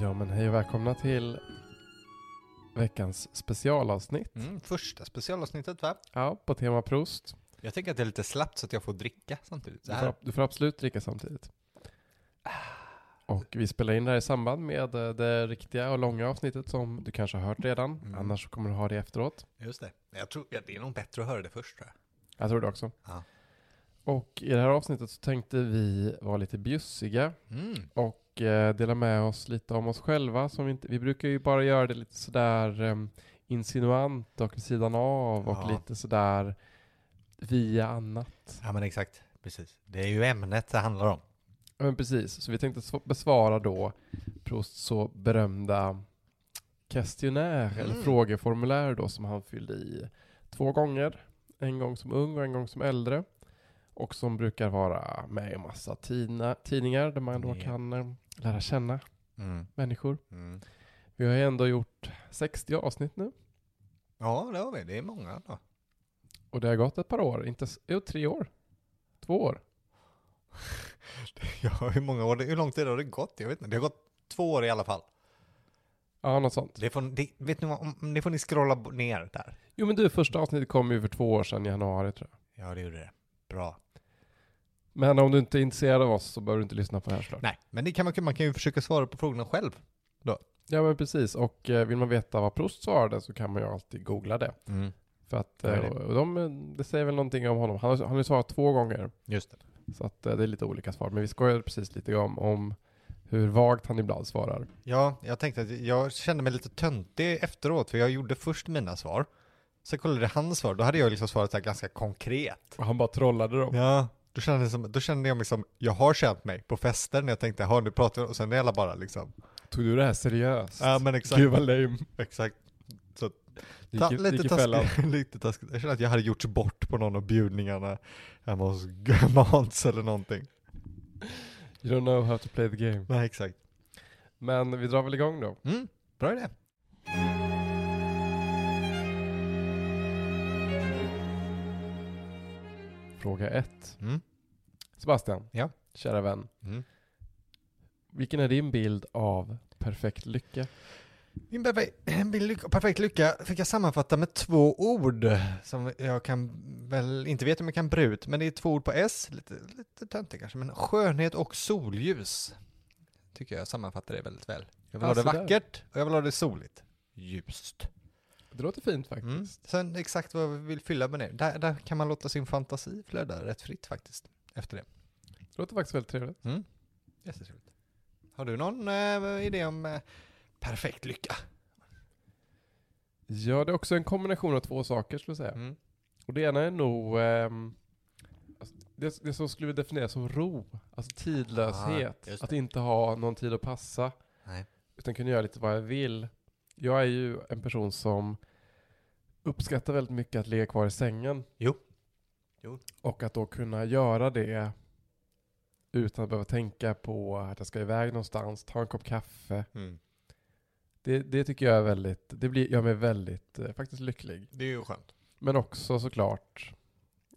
Ja men hej och välkomna till veckans specialavsnitt. Mm, första specialavsnittet va? Ja, på tema prost. Jag tänker att det är lite slappt så att jag får dricka samtidigt. Så Du här. Ah. får, du får absolut dricka samtidigt. Och vi spelar in det här i samband med eh, det riktiga och långa avsnittet som du kanske har hört redan. Mm. Annars så kommer du ha det efteråt. Just det. Jag tror, ja, det är nog bättre att höra det först tror jag. Jag tror det också. Ja. Och i det här avsnittet så tänkte vi vara lite bjussiga Mm. och eh, dela med oss lite om oss själva. Som vi, inte, vi brukar ju bara göra det lite sådär um, insinuant och vid sidan av och Ja. lite sådär via annat. Ja men exakt, precis. Det är ju ämnet det handlar om. Ja, men precis, så vi tänkte sv- besvara då Prosts så berömda questionnaire eller Mm. frågeformulär då som han fyllde i två gånger. En gång som ung och en gång som äldre. Och som brukar vara med i massa tidna, tidningar där man då Ja. kan eh, lära känna Mm. människor. Mm. Vi har ju ändå gjort 60 avsnitt nu. Ja det har vi, det är många då. Och det har gått ett par år. Inte, s- jo, tre år. Två år. Ja, hur många år, hur lång tid har det gått? Jag vet inte, det har gått två år i alla fall. Ja, något sånt. Det får, det, vet ni, vad, om, det får ni scrolla b- ner där. Jo, men du, första avsnittet kom ju för två år sedan i januari tror jag. Ja det gjorde det. Bra. Men om du inte är intresserad av oss så behöver du inte lyssna på det här såklart. Nej, men det kan man, man kan ju försöka svara på frågorna själv. Ja, men precis. Och eh, vill man veta vad Prost svarade så kan man ju alltid googla det. Mm. För att eh, Ja, det- och de, eh, det säger väl någonting om honom. Han har han har ju svarat två gånger. Just det. Så att eh, det är lite olika svar. Men vi skojade precis lite om, om hur vagt han ibland svarar. Ja, jag tänkte att jag kände mig lite töntig efteråt för jag gjorde först mina svar. Sen kollade jag hans svar, då hade jag liksom svarat så här ganska konkret. Och han bara trollade dem. Ja. Då kände, jag som, då kände jag mig som, jag har känt mig på fester när jag tänkte, jaha nu pratar jag, och sen är alla bara liksom. Tog du det här seriöst? Ja men exakt. Gud vad lame. Exakt. Ta, Gick, i- gick lite, i fällan. taskigt, lite taskigt. Jag kände att jag hade gjorts bort på någon av bjudningarna hemma hos gamla Hans eller någonting. You don't know how to play the game. Nej exakt. Men vi drar väl igång då. Mm, bra idé. Fråga ett. Mm. Sebastian. Ja. Kära vän. Mm. Vilken är din bild av perfekt lycka? Min perfek- min lyck- perfekt lycka fick jag sammanfatta med två ord som jag kan väl inte vet om jag kan bre ut, men det är två ord på S, lite, lite töntigt kanske, men skönhet och solljus tycker jag sammanfattar det väldigt väl. Jag vill Ja, ha det så där. vackert och jag vill ha det soligt. Ljust. Det låter fint faktiskt. Mm. Sen exakt vad vi vill fylla med det, där, där kan man låta sin fantasi flöda rätt fritt faktiskt efter det. Det låter faktiskt väldigt trevligt. Jättetrevligt. Har du någon eh, idé om eh, perfekt lycka? Ja, det är också en kombination av två saker skulle jag säga. Mm. Och det ena är nog ehm, alltså, det, det som skulle definieras som ro. Alltså tidlöshet. Ah, just det. att inte ha någon tid att passa. Nej. Utan kunna göra lite vad jag vill. Jag är ju en person som uppskattar väldigt mycket att ligga kvar i sängen. Jo. Jo. Och att då kunna göra det utan att behöva tänka på att jag ska iväg någonstans, ta en kopp kaffe. Mm. Det, det tycker jag är väldigt, det blir, gör mig väldigt eh, faktiskt lycklig. Det är ju skönt. Men också såklart,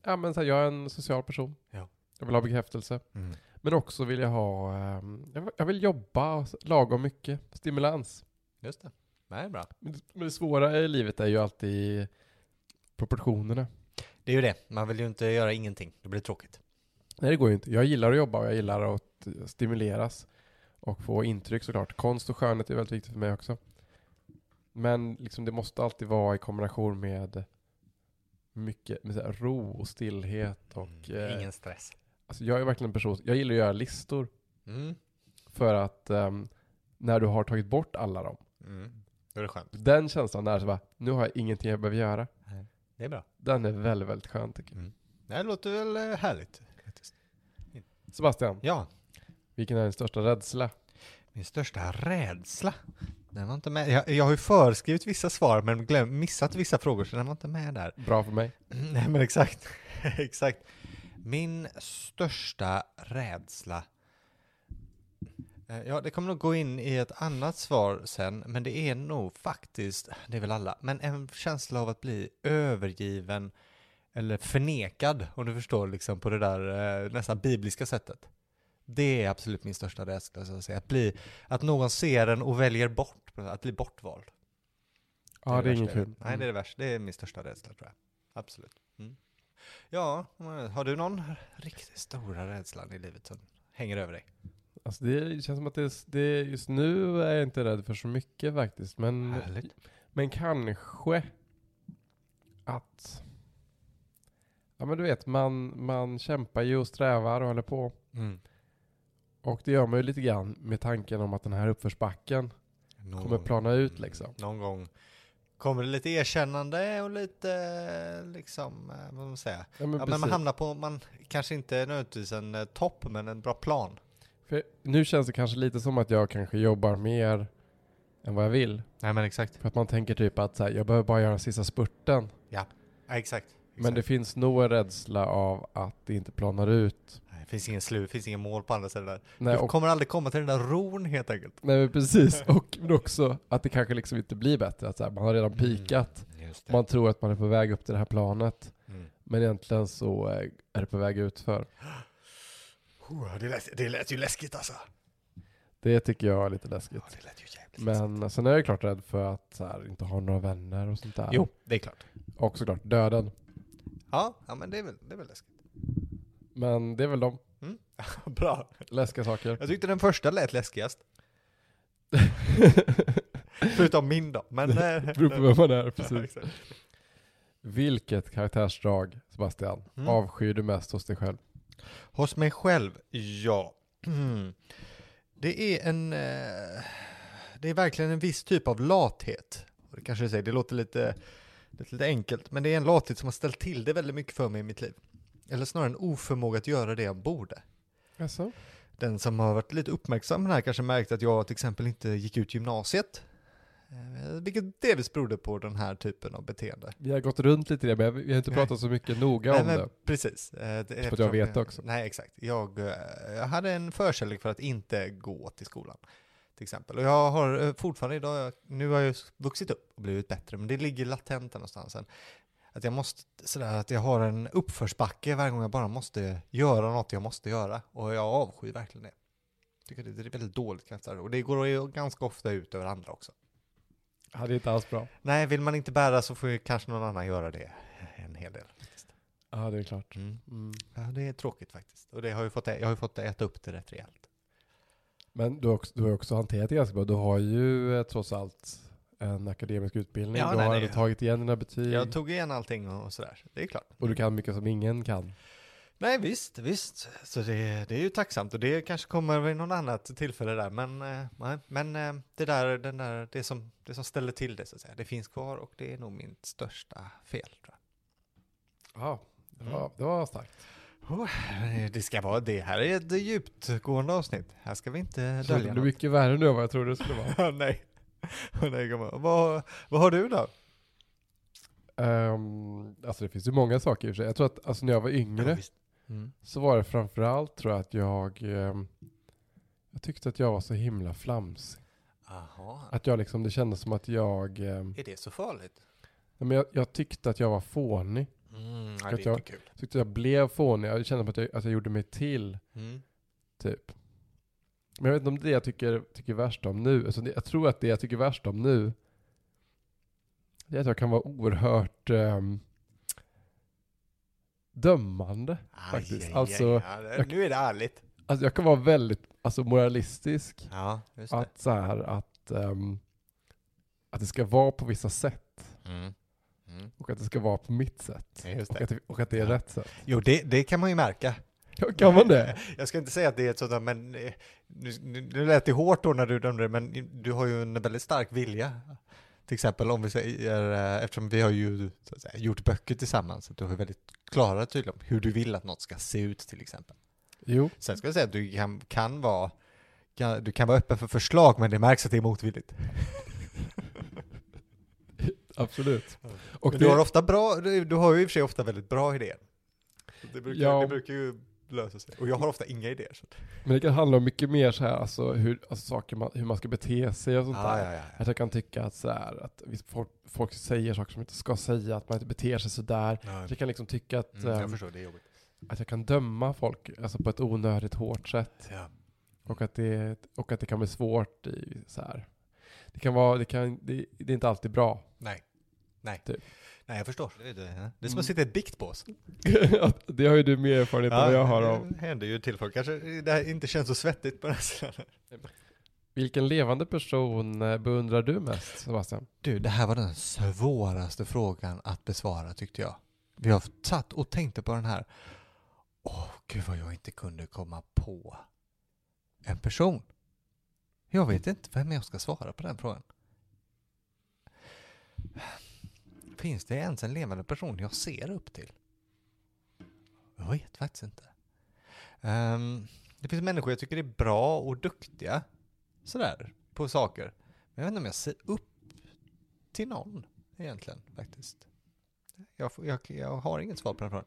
ja men så här, jag är en social person. Ja. Jag vill ha bekräftelse. Men också vill jag ha, ehm, jag vill- jag vill jobba lagom mycket, stimulans. Just det. Nej, bra. Men det- men det svåra i livet är ju alltid proportionerna. Det är ju det. Man vill ju inte göra ingenting. Det blir tråkigt. Nej det går ju inte. Jag gillar att jobba och jag gillar att eh, stimuleras. Och få intryck såklart. Konst och skönhet är väldigt viktigt för mig också. Men liksom det måste alltid vara i kombination med mycket med så här, ro och stillhet. Och, eh, Mm, Ingen stress. alltså jag är verkligen en person, jag gillar att göra listor. Mm. För att ehm, när du har tagit bort alla dem. Mm. Då är det skönt. Den känslan när så bara, nu har jag ingenting jag behöver göra. Det är bra. Den är väldigt, väldigt skön tycker jag. Det här låter väl eh, härligt. Sebastian, Ja, vilken är din största rädsla? min största rädsla. Den var inte med. Jag, jag har ju föreskrivit vissa svar men glöm, missat vissa frågor så den var inte med där. Bra för mig. Nej men exakt. exakt. Min största rädsla. Eh, Ja, det kommer nog gå in i ett annat svar sen, men det är nog faktiskt, det är väl alla, men en känsla av att bli övergiven eller förnekad, om du förstår, liksom på det där eh, nästan bibliska sättet. Det är absolut min största rädsla, så att, säga. Att, bli, att någon ser en och väljer bort, att bli bortvald. Ja, det är inget värsta kul. jag Mm. vet. Nej, det är det värsta. Det är min största rädsla tror jag. Absolut. Mm. Ja, har du någon riktigt stora rädslan i livet som hänger över dig? Alltså det känns som att det, det just nu är jag inte rädd för så mycket faktiskt. Men, Härligt. men kanske att... Ja men du vet, man, man kämpar ju och strävar och håller på. Mm. Och det gör man ju lite grann med tanken om att den här uppförsbacken Någon kommer gång- plana ut liksom. Mm. Någon gång kommer det lite erkännande och lite eh, liksom, eh, vad man man säga? Ja, men Ja, men man precis. hamnar på, man kanske inte nödvändigtvis en eh, topp, men en bra plan. För nu känns det kanske lite som att jag kanske jobbar mer än vad jag vill. Nej men exakt. För att man tänker typ att så här, jag behöver bara göra den sista spurten. Ja, exakt. exakt. Men det finns nog en rädsla av att det inte planar ut. Nej, det finns ingen slut, det finns ingen mål på andra sidan där. Nej, du och, kommer aldrig komma till den där ron helt enkelt. nej men precis. Och men också att det kanske liksom inte blir bättre. Att så här, man har redan Mm. pikat. Just Man tror att man är på väg upp till det här planet. Mm. Men egentligen så eh, är det på väg utför. Oh, det, lät, det lät ju läskigt alltså. Det tycker jag är lite läskigt. Ja, det lät ju jävligt läskigt. Men sen är jag ju klart rädd för att så här, inte ha några vänner och sånt där. Jo, det är klart. Och såklart döden. Ja, ja men det är väl, det är väl läskigt. Men det är väl de Bra. läskiga saker. Jag tyckte den första lät läskigast. Förutom min då. Men... eh, Beror på vem man är, ja, precis. exakt. Vilket karaktärsdrag, Sebastian, Mm. avskyr du mest hos dig själv? Hos mig själv, ja. Mm. Det är en... eh, Det är verkligen en viss typ av lathet. Och Det kanske du säger, det låter lite, lite, lite enkelt. Men det är en lathet som har ställt till det väldigt mycket för mig i mitt liv. Eller snarare en oförmåga att göra det jag borde. Jaså? Den som har varit lite uppmärksam på den här kanske märkt att jag till exempel inte gick ut gymnasiet. Eh, Vilket delvis berodde på den här typen av beteende. Vi har gått runt lite i det, men vi har inte Nej. pratat så mycket noga om Nej, det. men precis. Eh, det- jag eftersom vet också. Nej, exakt. Jag, eh, jag hade en förkärlek för att inte gå till skolan, till exempel. Och jag har eh, fortfarande idag, nu har jag ju vuxit upp och blivit bättre, men det ligger latent där någonstans. än. Att jag måste, sådär, att jag har en uppförsbacke varje gång jag bara måste göra något jag måste göra. Och jag avskyr verkligen det. Tycker det det är väldigt dåligt kanske. Och det går ju ganska ofta ut över andra också. Ja, det är inte alls bra. Nej, vill man inte bära så får ju kanske någon annan göra det en hel del. faktiskt. Ja, det är klart. Mm. Mm. Ja, det är tråkigt faktiskt. Och det har ju fått, jag har ju fått äta upp det rätt rejält. Men du har, också, du har också hanterat det ganska bra. Du har ju eh, trots allt en akademisk utbildning. Ja, du nej, har det- ändå tagit igen dina betyg. Jag tog igen allting och, och sådär. Det är klart. Och du kan mycket som ingen kan. Nej, visst, visst. Så det, det är ju tacksamt och det kanske kommer vid någon annat tillfälle där. Men, eh, nej. men eh, det där, den där, det som, det som ställer till det så att säga, det finns kvar och det är nog mitt största fel. Tror Ja, det Mm. var, det var starkt. jag. Oh, det ska vara det. Här är ett djupgående avsnitt. Här ska vi inte Så det dölja blev något. mycket värre nu än vad jag trodde det skulle vara. Ja, nej. Åh, nej gumman. vad, vad har du då? Ehm, alltså det finns ju många saker i och för sig. Jag tror att alltså, när jag var yngre Mm. så var det framförallt tror jag att jag ehm, jag tyckte att jag var så himla flamsig. Aha. Att jag liksom, det kändes som att jag, ehm, Är det så farligt? nej, men jag, jag tyckte att jag var fånig. Mm, ja, Att det är jag- inte kul. Jag tyckte att jag blev fånig. Jag kände att jag, att jag gjorde mig till, Mm. typ. Men jag vet inte om det jag tycker, tycker värst om nu, alltså det, jag tror att det jag tycker värst om nu, det är att jag kan vara oerhört ehm, dömande. Faktiskt. Aj, aj, Alltså, aj. Ja, det- jag- nu är det ärligt. Alltså jag kan vara väldigt alltså, moralistisk. Ja, just det. Att så här, att, ehm, att det ska vara på vissa sätt. Mm. Mm. Och att det ska vara på mitt sätt. Ja, just Och att, det. det- och att det är Ja. rätt sätt. Jo, det, det kan man ju märka. Ja, Kan man det? Jag ska inte säga att det är ett sånt där, men eh, nu, nu, nu lät det hårt då när du dömde det, men du har ju en väldigt stark vilja. Till exempel om vi säger, eh, eftersom vi har ju så att säga, gjort böcker tillsammans, så du har ju väldigt klara tydliga om hur du vill att något ska se ut till exempel. Jo, Sen ska jag säga att du kan, kan vara kan, du kan vara öppen för förslag, men det märks att det är motvilligt. absolut. Och men det- du har ofta bra, du, du har ju i och för sig ofta väldigt bra idéer. Det brukar, Ja. det brukar ju lösa sig. Och jag har ofta inga idéer. Så. Men det kan handla om mycket mer så här, alltså, hur, alltså saker man, hur man ska bete sig och sånt där. Ah, ja, Att jag kan tycka att, så här, att visst, folk, folk säger saker som inte ska säga, att man inte beter sig så där. ja. Jag kan liksom tycka att, ehm, Mm, förstår, det är jobbigt. att jag kan döma folk alltså på ett onödigt hårt sätt. Ja. Och att det, och att det kan bli svårt i så här. Det kan vara, det kan, det, det är inte alltid bra. Nej. Nej. Typ. Nej, jag förstår. Det är, det, det är som Mm. att sitta i ett diktbås. det har ju du mer erfarenhet än vad jag har av. det händer ju till folk. Kanske det här inte känns så svettigt på den här sidan. Vilken levande person eh, beundrar du mest, Sebastian? Du, det här var den svåraste frågan att besvara tyckte jag. Vi har satt och tänkte på den här. Åh, gud vad jag inte kunde komma på en person. Jag vet inte vem jag ska svara på den frågan. Finns det ens en levande person jag ser upp till? Jag vet faktiskt inte. Ehm, det finns människor jag tycker är bra och duktiga sådär på saker. Men jag vet inte om jag ser upp till någon egentligen faktiskt. Jag, får- jag, jag har inget svar på den frågan.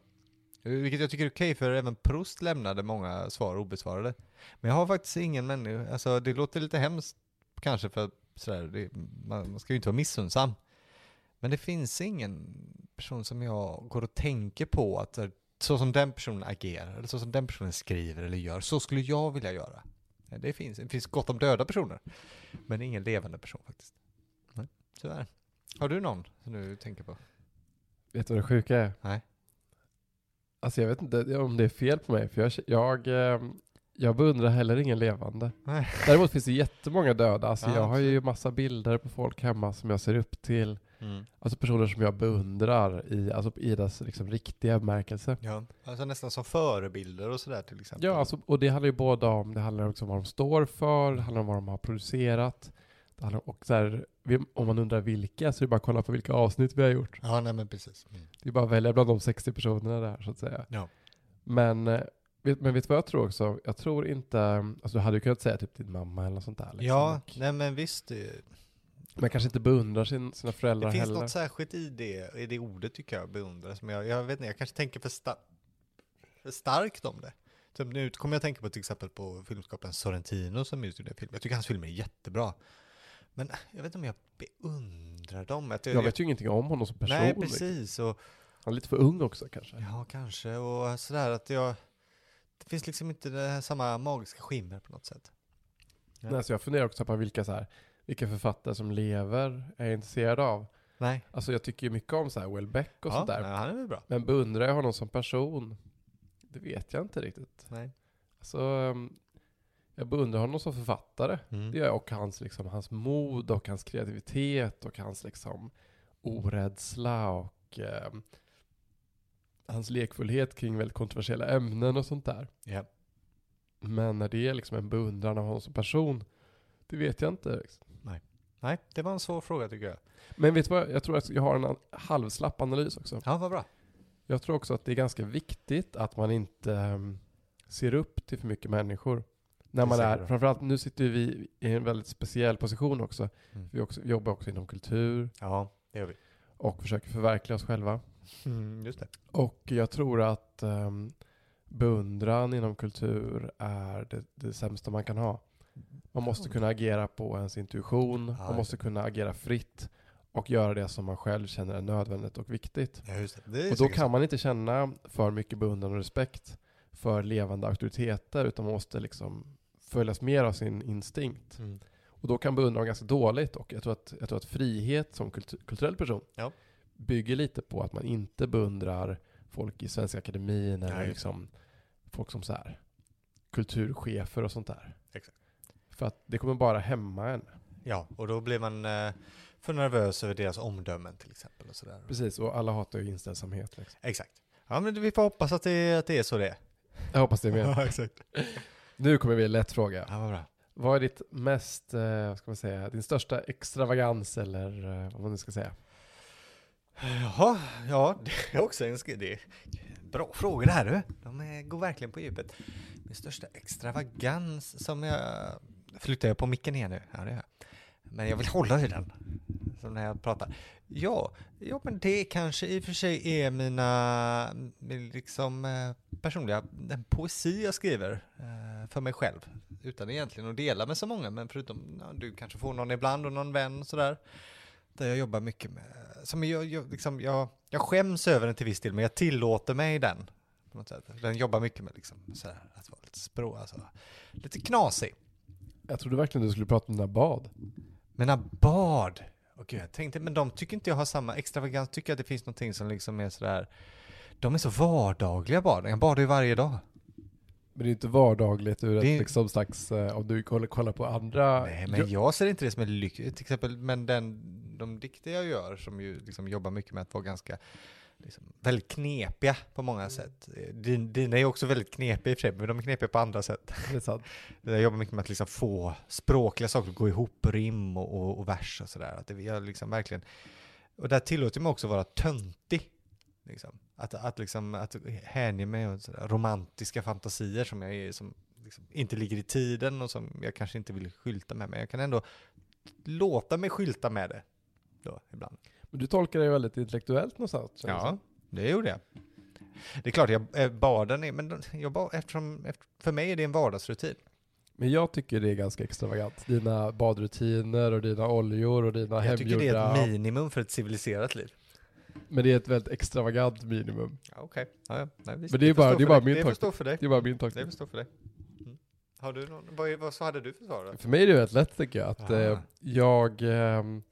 Eh, Vilket jag tycker är okej, för även Proust lämnade många svar obesvarade. Men jag har faktiskt ingen människa, alltså det låter lite hemskt kanske för att sådär, det, man, man ska ju inte vara missunnsam. Men det finns ingen person som jag går och tänker på att så- så som den personen agerar, eller så som den personen skriver eller gör, så skulle jag vilja göra. Eh, Det finns, det finns gott om döda personer, men ingen levande person faktiskt. Tyvärr. Har du någon som du tänker på? Vet du vad det sjuka är? Nej. Alltså jag vet inte om det är fel på mig, för jag, jag, eh, jag beundrar heller ingen levande. Nej. Däremot finns det jättemånga döda. Alltså Ja, jag har ju massa bilder på folk hemma som jag ser upp till. Mm. Alltså personer som jag beundrar i, alltså i deras liksom riktiga bemärkelse. Ja. Alltså nästan som förebilder och sådär till exempel. Ja, alltså, och det handlar ju både om, det handlar också om vad de står för, det handlar om vad de har producerat. Det handlar, och så här, vi- om man undrar vilka så är det bara att kolla på vilka avsnitt vi har gjort. Ja, nej men precis. Mm. Det är bara att välja bland de 60 personerna där så att säga. Ja. Men, eh, vet, men vet du vad jag tror också? Jag tror inte, alltså du hade ju kunnat säga typ din mamma eller något sånt där. Liksom. Ja, Och- nej men visst. Det, Man kanske inte beundrar sin, sina det föräldrar finns heller. något särskilt i det, i det ordet tycker jag beundrar. Som jag, jag vet inte, jag kanske tänker för, sta- för starkt om det. Typ nu kommer jag tänka på till exempel på filmskaparen Sorrentino som just gjorde en film. Jag tycker hans filmer är jättebra. Men jag vet inte om jag beundrar dem. Att Jag vet ju ingenting om honom som person. Nej, liksom. precis. Och, Han är lite för ung också kanske. Ja, kanske. Och sådär att jag... Det finns liksom inte det här samma magiska skimmer på något sätt. Ja. Nej, så jag funderar också på vilka, så här, vilka författare som lever är jag intresserad av. Nej. Alltså jag tycker ju mycket om så här Welbeck och ja, sådär. nej, han är väl bra. Men beundrar jag honom som person? Det vet jag inte riktigt. Nej. Alltså, ehm, jag beundrar honom som författare. Mm. Det gör jag. Och hans, liksom, hans mod och hans kreativitet och hans liksom, orädsla och ehm, hans lekfullhet kring väldigt kontroversiella ämnen och sånt där. Ja. Men när det är liksom en beundran av honom som person, det vet jag inte. Liksom. Nej, det var en svår fråga tycker jag. Men vet du vad, jag tror att jag har en an- halvslapp analys också. Ja, vad bra. Jag tror också att det är ganska viktigt att man inte ehm, ser upp till för mycket människor. När Det man ser är, jag. framförallt nu sitter ju vi i en väldigt speciell position också. Mm. Vi också, jobbar också inom kultur Ja, det gör vi. och försöker förverkliga oss själva. Mm, just det. Och jag tror att ehm, beundran inom kultur är det, det sämsta man kan ha. Man måste kunna agera på ens intuition, Ja, man måste det- kunna agera fritt och göra det som man själv känner är nödvändigt och viktigt. Ja, just det. det är Och då säkert kan man inte känna för mycket beundran och respekt för levande auktoriteter utan man måste liksom följas mer av sin instinkt. så. Mm. Och då kan beundran vara ganska dåligt och jag tror att, jag tror att frihet som kultu- kulturell person Ja. bygger lite på att man inte beundrar folk i Svenska Akademin eller Nej. liksom folk som så här, kulturchefer och sånt där. Exakt. För att det kommer bara hämma en. Ja, och då blir man eh, för nervös över deras omdömen till exempel och sådär. Precis, och alla hatar ju inställsamhet. Liksom. Exakt. Ja, men vi får hoppas att det, att det är så det är. Jag hoppas det är med. Ja, exakt. Nu kommer vi en lätt fråga. Ja, vad bra. Vad är ditt mest, eh, vad ska man säga, din största extravagans eller eh, vad man nu ska säga? Jaha, ja, det är också en sk- det är Bra frågor det här du. De är, går verkligen på djupet. Min största extravagans som jag... Flyttar jag på micken igen nu? Ja, det gör jag. Men jag vill hålla i den. Som när jag pratar. Ja, ja men det kanske i och för sig är mina min liksom, eh, personliga, den poesi jag skriver eh, för mig själv. Utan egentligen att dela med så många, men förutom, ja, du kanske får någon ibland och någon vän och sådär där jag jobbar mycket med, som jag, jag, liksom, jag, jag skäms över den till viss del, men jag tillåter mig den. på på något sätt. Den jobbar mycket med liksom så här, att vara lite språ, alltså. Lite knasig. Jag trodde verkligen du skulle prata om dina bad. Mina bad! Åh gud, jag tänkte, men de tycker inte jag har samma extravagans. Tycker jag att det finns någonting som liksom är sådär... De är så vardagliga baden. Jag badar ju varje dag. Men det är inte vardagligt ur Det ett är- liksom slags, eh, om du kollar, kollar på andra. Nej, men jag ser inte det som en lyx. Till exempel, men den, de dikter jag gör som ju liksom jobbar mycket med att vara ganska, liksom, väldigt knepiga på många sätt. Eh, Din, dina är ju också väldigt knepiga i och för sig, men de är knepiga på andra sätt. Det är sant. Jag jobbar mycket med att liksom få språkliga saker att gå ihop, rim och, och, och vers och sådär. Att det, jag liksom verkligen, och där tillåter jag mig också vara töntig. Liksom. Att, att, liksom, att hänge mig åt sådär romantiska fantasier som, jag är, som liksom inte ligger i tiden och som jag kanske inte vill skylta med. Men jag kan ändå låta mig skylta med det då, ibland. Men du tolkar det väldigt intellektuellt någonstans. känns det Ja, som. det gjorde jag. Det är klart, jag, eh, baden är, men jag, bad- eftersom, efter, för mig är det en vardagsrutin. Men jag tycker det är ganska extravagant. Dina badrutiner och dina oljor och dina Jag tycker hemgjorda. det är ett minimum för ett civiliserat liv. Men det är ett väldigt extravagant minimum. Ja, Okej. Ja, ja. Nej, visst. Men det är bara- förstår det är för bara dig. min Det tolkning. förstår för dig. Det är bara min Det tolkning. förstår för dig. Mm. Har du någon, vad, är- vad så hade du för svar då? För mig är det väldigt lätt tycker jag. Att, Alltså. Ah. eh, jag, ehm,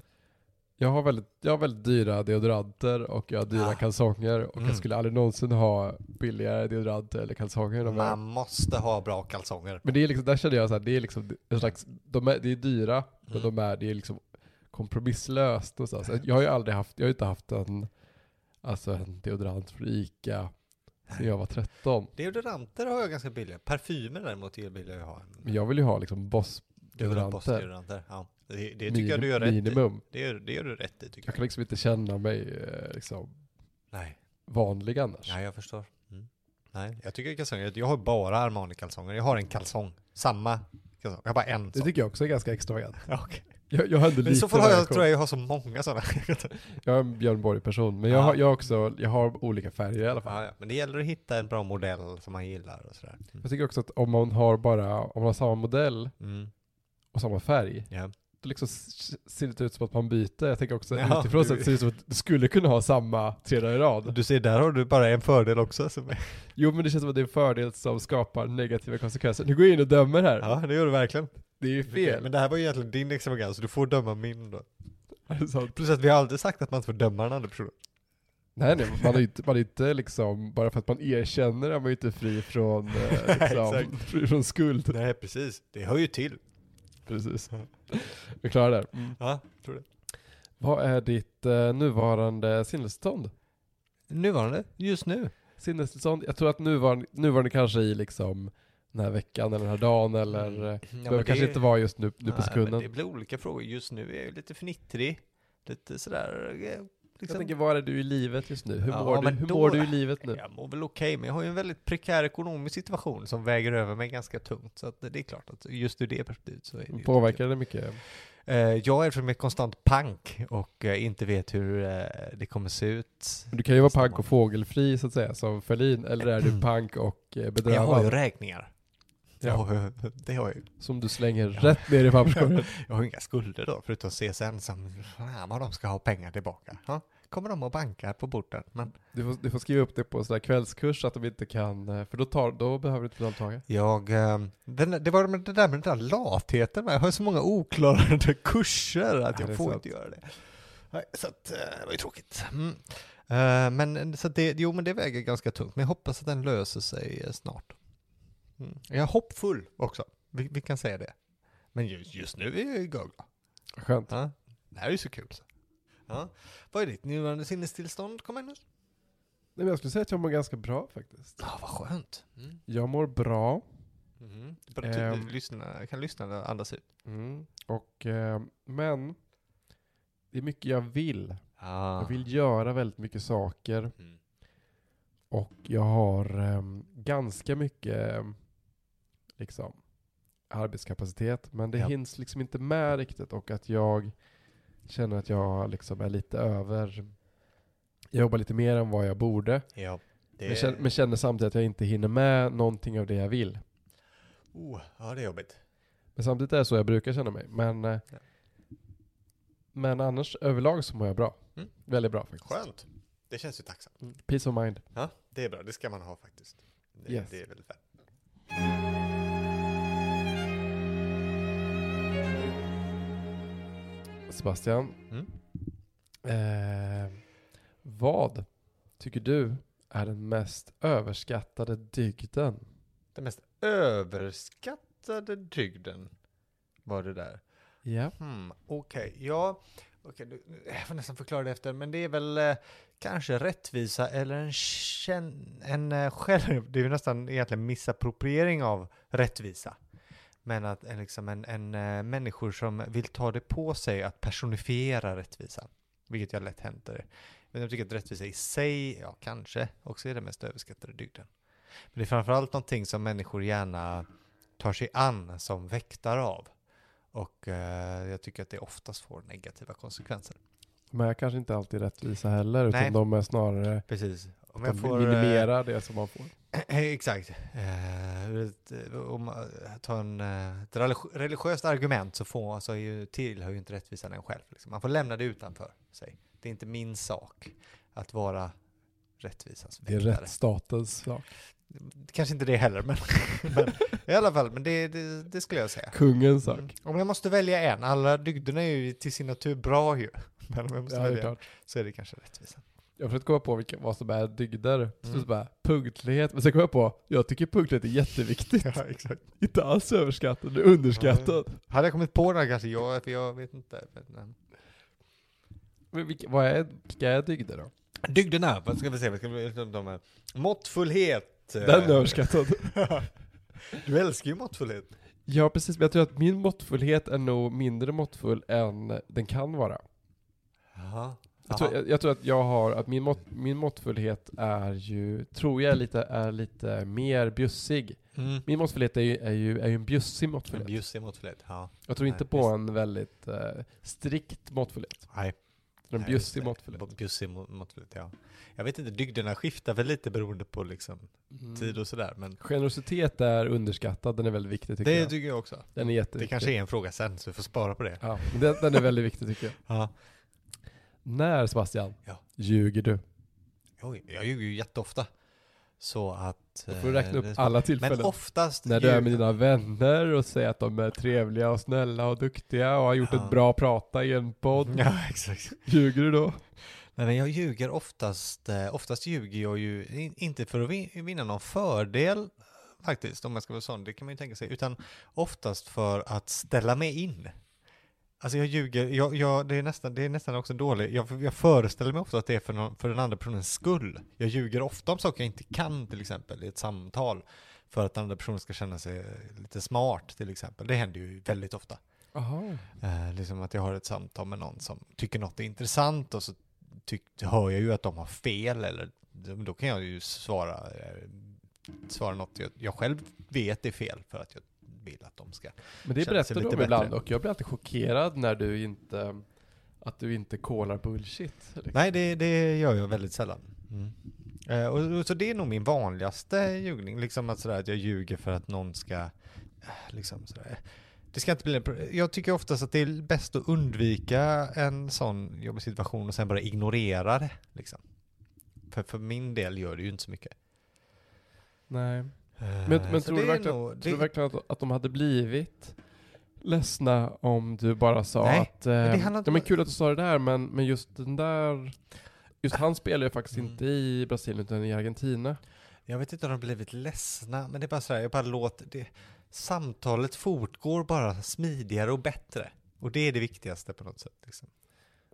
jag, har väldigt, jag har väldigt dyra deodoranter och jag har dyra Ah. kalsonger. Och Mm. jag skulle aldrig någonsin ha billigare deodoranter eller kalsonger. än de här. Man måste ha bra kalsonger. Men det är liksom, där känner jag så här, det är liksom en slags, de är, det är dyra, men Mm. de är, det är liksom kompromisslöst någonstans. Jag har ju aldrig haft, jag har ju inte haft en, alltså en deodorant från ICA sedan jag var 13. Deodoranter har jag ganska billiga. Parfymer däremot är billiga jag ha. Men jag vill ju ha liksom Boss-deodoranter. Deodoranter. Ja. Det, det tycker jag du gör rätt i. Minimum. Det gör, det gör du rätt i tycker Jag jag. kan liksom inte känna mig eh, liksom Nej, vanlig annars. Nej jag förstår. Mm. Nej, jag tycker kalsonger, jag har bara Armani-kalsonger. Jag har en kalsong. Samma kalsong. Jag har bara en Det sån. tycker jag också är ganska extravagant. Okej. Jag, jag har ändå Men I lite så fall har jag, variation. tror jag jag har så många sådana. Jag är en Björn Borg-person, men jag, Ja. har, jag, har också, jag har olika färger i alla fall. Ja, ja. Men det gäller att hitta en bra modell som man gillar och sådär. Jag tycker också att om man har bara, om man har samma modell Mm. och samma färg, Ja. då liksom s- ser det ut som att man byter. Jag tänker också Ja, utifrån du- sett ser det ut som att du skulle kunna ha samma tre dagar i rad. Du ser, där har du bara en fördel också. Som Jo men det känns som att det är en fördel som skapar negativa konsekvenser. Nu går jag in och dömer här. Ja, det gör du verkligen. Det är ju fel. Men det här var ju egentligen din extravagans, så du får döma min då. Så- Plus att vi har aldrig sagt att man inte får döma den andra personen. nej nej, man är ju inte, man är inte liksom, bara för att man erkänner är man ju inte fri från, eh, liksom, exakt. fri från skuld. Nej, precis. Det hör ju till. Precis. Vi klarar det. här. Ja, tror det. Vad är ditt eh, nuvarande sinnestillstånd? Nuvarande, just nu. Sinnestillstånd, jag tror att nuvarande, nuvarande kanske i liksom den här veckan eller den här dagen eller eh, Mm. Ja, behöver kanske inte vara just nu, nu på sekunden. Det blir olika frågor. Just nu är jag ju lite fnittrig. Lite sådär... eh, Jag Liksom. tänker, var är du i livet just nu? Hur, Ja, mår, du, men hur då- mår du i livet nu? Jag mår väl okej, men jag har ju en väldigt prekär ekonomisk situation som väger över mig ganska tungt. Så att det är klart att just ur det perspektivet så är det ju Påverkar det mycket? Eh, Jag är som är konstant pank och eh, inte vet hur eh, det kommer se ut. Du kan ju vara Stämmer. pank och fågelfri så att säga, som Ferlin, eller är du pank och eh, Mm. Jag har ju bedrövad? räkningar. Ja. Jag har ju- Det har jag ju. Som du slänger Ja. rätt ner i papperskorgen. Jag har ju inga skulder då, förutom CSN som, fan vad de ska ha pengar tillbaka. Ja, kommer de att banka på borten? Men Du får, du får skriva upp det på en sån här kvällskurs så att de inte kan, eh, för då, tar, då behöver du inte undantag. jag, eh, den, det var det där med den där latheten med. Jag har ju så många oklara kurser att Ja, det är jag får sant. inte göra det. Nej, Så att, eh, det var ju tråkigt. Mm. Eh, Men så att det, jo men det väger ganska tungt, men jag hoppas att den löser sig eh, snart. Mm. Jag är hoppfull också, vi, vi kan säga det. Men just, just nu är jag ju gagla. Skönt. Ja. Det här är ju så kul. Så. Ja. Vad är ditt nuvarande sinnestillstånd, Magnus? Nej, men jag skulle säga att jag mår ganska bra faktiskt. Ja, vad skönt. Mm. Jag mår bra. Mhm. Det är bara tydligt. Ehm. lyssna, kan lyssna och andas ut. Mm. Och, eh, men det är mycket jag vill. Ah. Jag vill göra väldigt mycket saker. Mm. Och jag har ehm, ganska mycket ehm, liksom, arbetskapacitet, men det Ja. hinns liksom inte med riktigt och att jag känner att jag liksom är lite över... Jag jobbar lite mer än vad jag borde, Ja. Det... men, känner, men känner samtidigt att jag inte hinner med någonting av det jag vill. Oh, ja, det är jobbigt. Men samtidigt är det så jag brukar känna mig. Men, eh, Ja. men annars överlag så mår jag bra. Mm. Väldigt bra faktiskt. Skönt. Det känns ju tacksamt. Peace of mind. Ja, det är bra. Det ska man ha faktiskt. Det, Yes. det är väldigt värt. Sebastian, Mm. eh, vad tycker du är den mest överskattade dygden? Den mest överskattade dygden var det där. Ja. Hmm, okej. Ja, okej. du- jag får nästan förklara det efter. Men det är väl eh, kanske rättvisa eller en, känn, en eh, själv... Det är ju nästan egentligen misappropriering av rättvisa. Men att en, liksom en, en eh, människor som vill ta det på sig att personifiera rättvisa. Vilket jag lätt händer. Men jag tycker att rättvisa i sig, ja kanske, också är den mest överskattade dygden. Men det är framförallt någonting som människor gärna tar sig an som väktare av. Och eh, jag tycker att det oftast får negativa konsekvenser. Men jag kanske inte alltid är rättvisa heller, Nej. utan de är snarare Precis. Om de jag får... eh, minimera det som man får. Exakt. Eh, ur ett, eh, om man tar en, eh, ett religi- religiöst argument så får, alltså, är ju, tillhör ju inte rättvisan en själv. Liksom. Man får lämna det utanför sig. Det är inte min sak att vara rättvisans Det är väktare. rättsstatens sak. Kanske inte det heller, men, men i alla fall, men det, det, det skulle jag säga. Kungens sak. Mm. Om jag måste välja en, alla dygderna är ju till sin natur bra ju. Men om jag måste Ja, det är välja en, klart. så är det kanske rättvisan. Jag försökte komma på vilka, vad som är dygder. Till Mm. slut bara, punktlighet. Men sen kom jag på, jag tycker punktlighet är jätteviktigt. Ja, exakt. Inte alls överskattad, det är underskattad. Hade jag kommit på den här kanske jag, för jag vet inte. Men, Men vilka, vad är, vilka är dygder Eh, då? Dygderna, vad ska vi se? Vad ska vi, de, de, måttfullhet. eh, Den är överskattad. du älskar ju måttfullhet. Ja, precis. Men jag tror att min måttfullhet är nog mindre måttfull än den kan vara. Jaha. Jag tror, jag, jag tror att jag har, att min, mått, min måttfullhet är ju, tror jag är lite, är lite mer bjussig. Mm. Min måttfullhet är ju, är ju, är ju en bjussig En måttfullhet. bjussig måttfullhet, ja. Jag tror inte Nej, på visst. en väldigt eh, strikt måttfullhet. Nej. En Nej, bjussig det. måttfullhet. Bjussig må- måttfullhet, ja. Jag vet inte, dygderna skiftar väl lite beroende på liksom Mm. tid och sådär, men Generositet är underskattad, den är väldigt viktig tycker det jag. tycker jag också. Den är Det jätteviktig. kanske är en fråga sen, så vi får spara på det. Ja, men den, den är väldigt viktig tycker jag. Ja. När Sebastian, Ja. ljuger du? Oj, jag ljuger ju jätteofta. Så att... Då får du räkna eh, det är upp så- alla Men tillfällen. oftast... När du är med ljuger- dina vänner och säger att de är trevliga och snälla och duktiga och har gjort Ja. ett bra prata i en podd. Ja, exakt. Ljuger du då? Nej, men jag ljuger oftast, eh, oftast ljuger jag ju in, inte för att vin- vinna någon fördel faktiskt, om jag ska vara sån, det kan man ju tänka sig, utan oftast för att ställa mig in. Alltså jag ljuger, jag, jag, det, är nästan, det är nästan också dåligt, jag, jag föreställer mig ofta att det är för, någon, för den andra personens skull. Jag ljuger ofta om saker jag inte kan till exempel i ett samtal, för att den andra personen ska känna sig eh, lite smart till exempel. Det händer ju väldigt ofta. Aha. Eh, liksom att jag har ett samtal med någon som tycker något är intressant och så tyck, hör jag ju att de har fel eller då kan jag ju svara, eh, svara något jag, jag själv vet är fel för att jag vill att de ska. Men Känns det det berättar du lite om ibland bättre? och jag blir alltid chockerad när du inte, att du inte kollar bullshit. liksom. Nej, det, det gör jag väldigt sällan. Eh, och, och, så det är nog min vanligaste ljugning, liksom att, sådär, att jag ljuger för att någon ska, eh, liksom sådär. Det ska inte bli en pro- jag tycker oftast att det är bäst att undvika en sån jobbig situation och sen bara ignorera det. Liksom. För, för min del gör det ju inte så mycket. Nej. Eh, Men- men så tror du det är verkligen- nog- Tror du det- verkligen att, att de hade blivit ledsna om du bara sa Nej, att eh, det handlar inte ja, men om- kul att du sa det där men, men just den där, just han spelar ju faktiskt Mm. inte i Brasilien utan i Argentina. Jag vet inte om de har blivit ledsna, men det är bara så här, jag bara låter det. Samtalet fortgår bara smidigare och bättre. Och det är det viktigaste på något sätt. Liksom.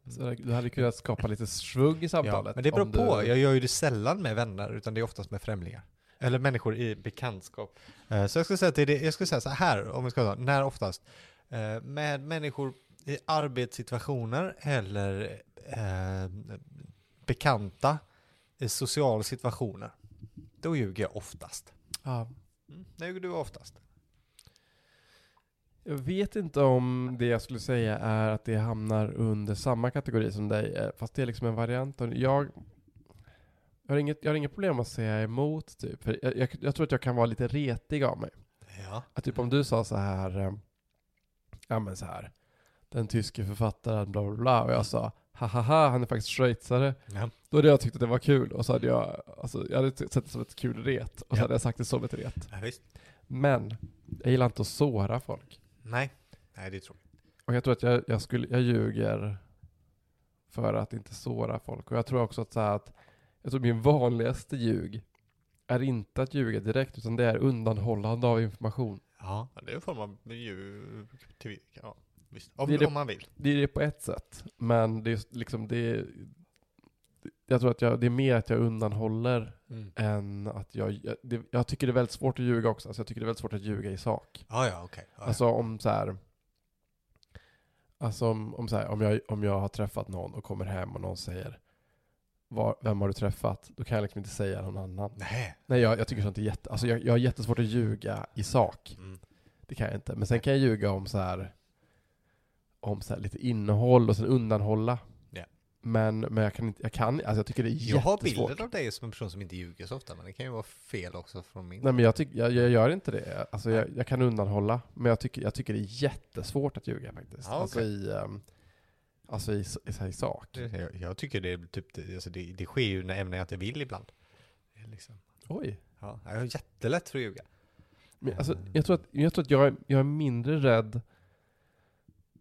Så där- du hade kunnat skapa lite svung i samtalet. men det beror om du- på. Jag gör ju det sällan med vänner, utan det är oftast med främlingar. Eller människor i bekantskap. Eh, Så jag skulle säga, att det är det, jag skulle säga så här, om vi ska ta, när oftast? Eh, Med människor i arbetssituationer eller eh, bekanta i sociala situationer. Då ljuger jag oftast. Ja. Mm. När ljuger du oftast? Jag vet inte om det jag skulle säga är att det hamnar under samma kategori som dig, eh, fast det är liksom en variant. av- Jag, jag, har, inget, jag har inget problem att säga emot, typ. För jag, jag, jag tror att jag kan vara lite retig av mig. Ja. Att typ om du sa så ehm, här, eh, ja men så här, den tyske författaren bla bla bla, och jag sa, hahaha, han är faktiskt schweizare. Ja. Då hade jag tyckt att det var kul och så hade jag, alltså, jag hade t- sett det som ett kul ret och så Ja. hade jag sagt det som ett ret. Ja, visst. Men jag gillar inte att såra folk. Nej. Nej, det är tråkigt. Och jag tror att jag, jag, skulle, jag ljuger för att inte såra folk. Och jag tror också att, så här att jag tror min vanligaste ljug är inte att ljuga direkt utan det är undanhållande av information. Ja, det är en form av ju... till- Ja, visst. Om, Det är det- om man vill. Det är det på ett sätt, men det är just liksom det är, jag tror att jag, det är mer att jag undanhåller än att jag, jag, det, jag tycker det är väldigt svårt att ljuga också. Alltså jag tycker det är väldigt svårt att ljuga i sak. Ja, ja, okej. Ja, Alltså om så här, alltså om, om så här, om jag, om jag har träffat någon och kommer hem och någon säger "Var- vem har du träffat? Då kan jag liksom inte säga någon annan. ja. Nej. Nej, jag, jag tycker sånt är jätte, alltså jag, jag har jättesvårt att ljuga i sak. Mm. Det kan jag inte. Men sen kan jag ljuga om så här, om så här lite innehåll och sen undanhålla. Ja. Men, men jag kan inte, jag kan, alltså jag tycker det är Jag har jättesvårt. bilder av dig som en person som inte ljuger så ofta, men det kan ju vara fel också från min. Nej men jag, tyck, jag, jag gör inte det. Alltså jag, jag kan undanhålla. Men jag tycker, jag tycker det är jättesvårt att ljuga faktiskt. Ja, Alltså okej. i, ehm, alltså i, s- i, så här i sak. Det- Jag, jag tycker det är typ, det- alltså det, det sker ju när ämnen jag inte vill ibland. Det är Liksom. Oj. Ja, jag har jättelätt för att ljuga. Men, alltså, jag tror att jag, tror att jag, är, jag är mindre rädd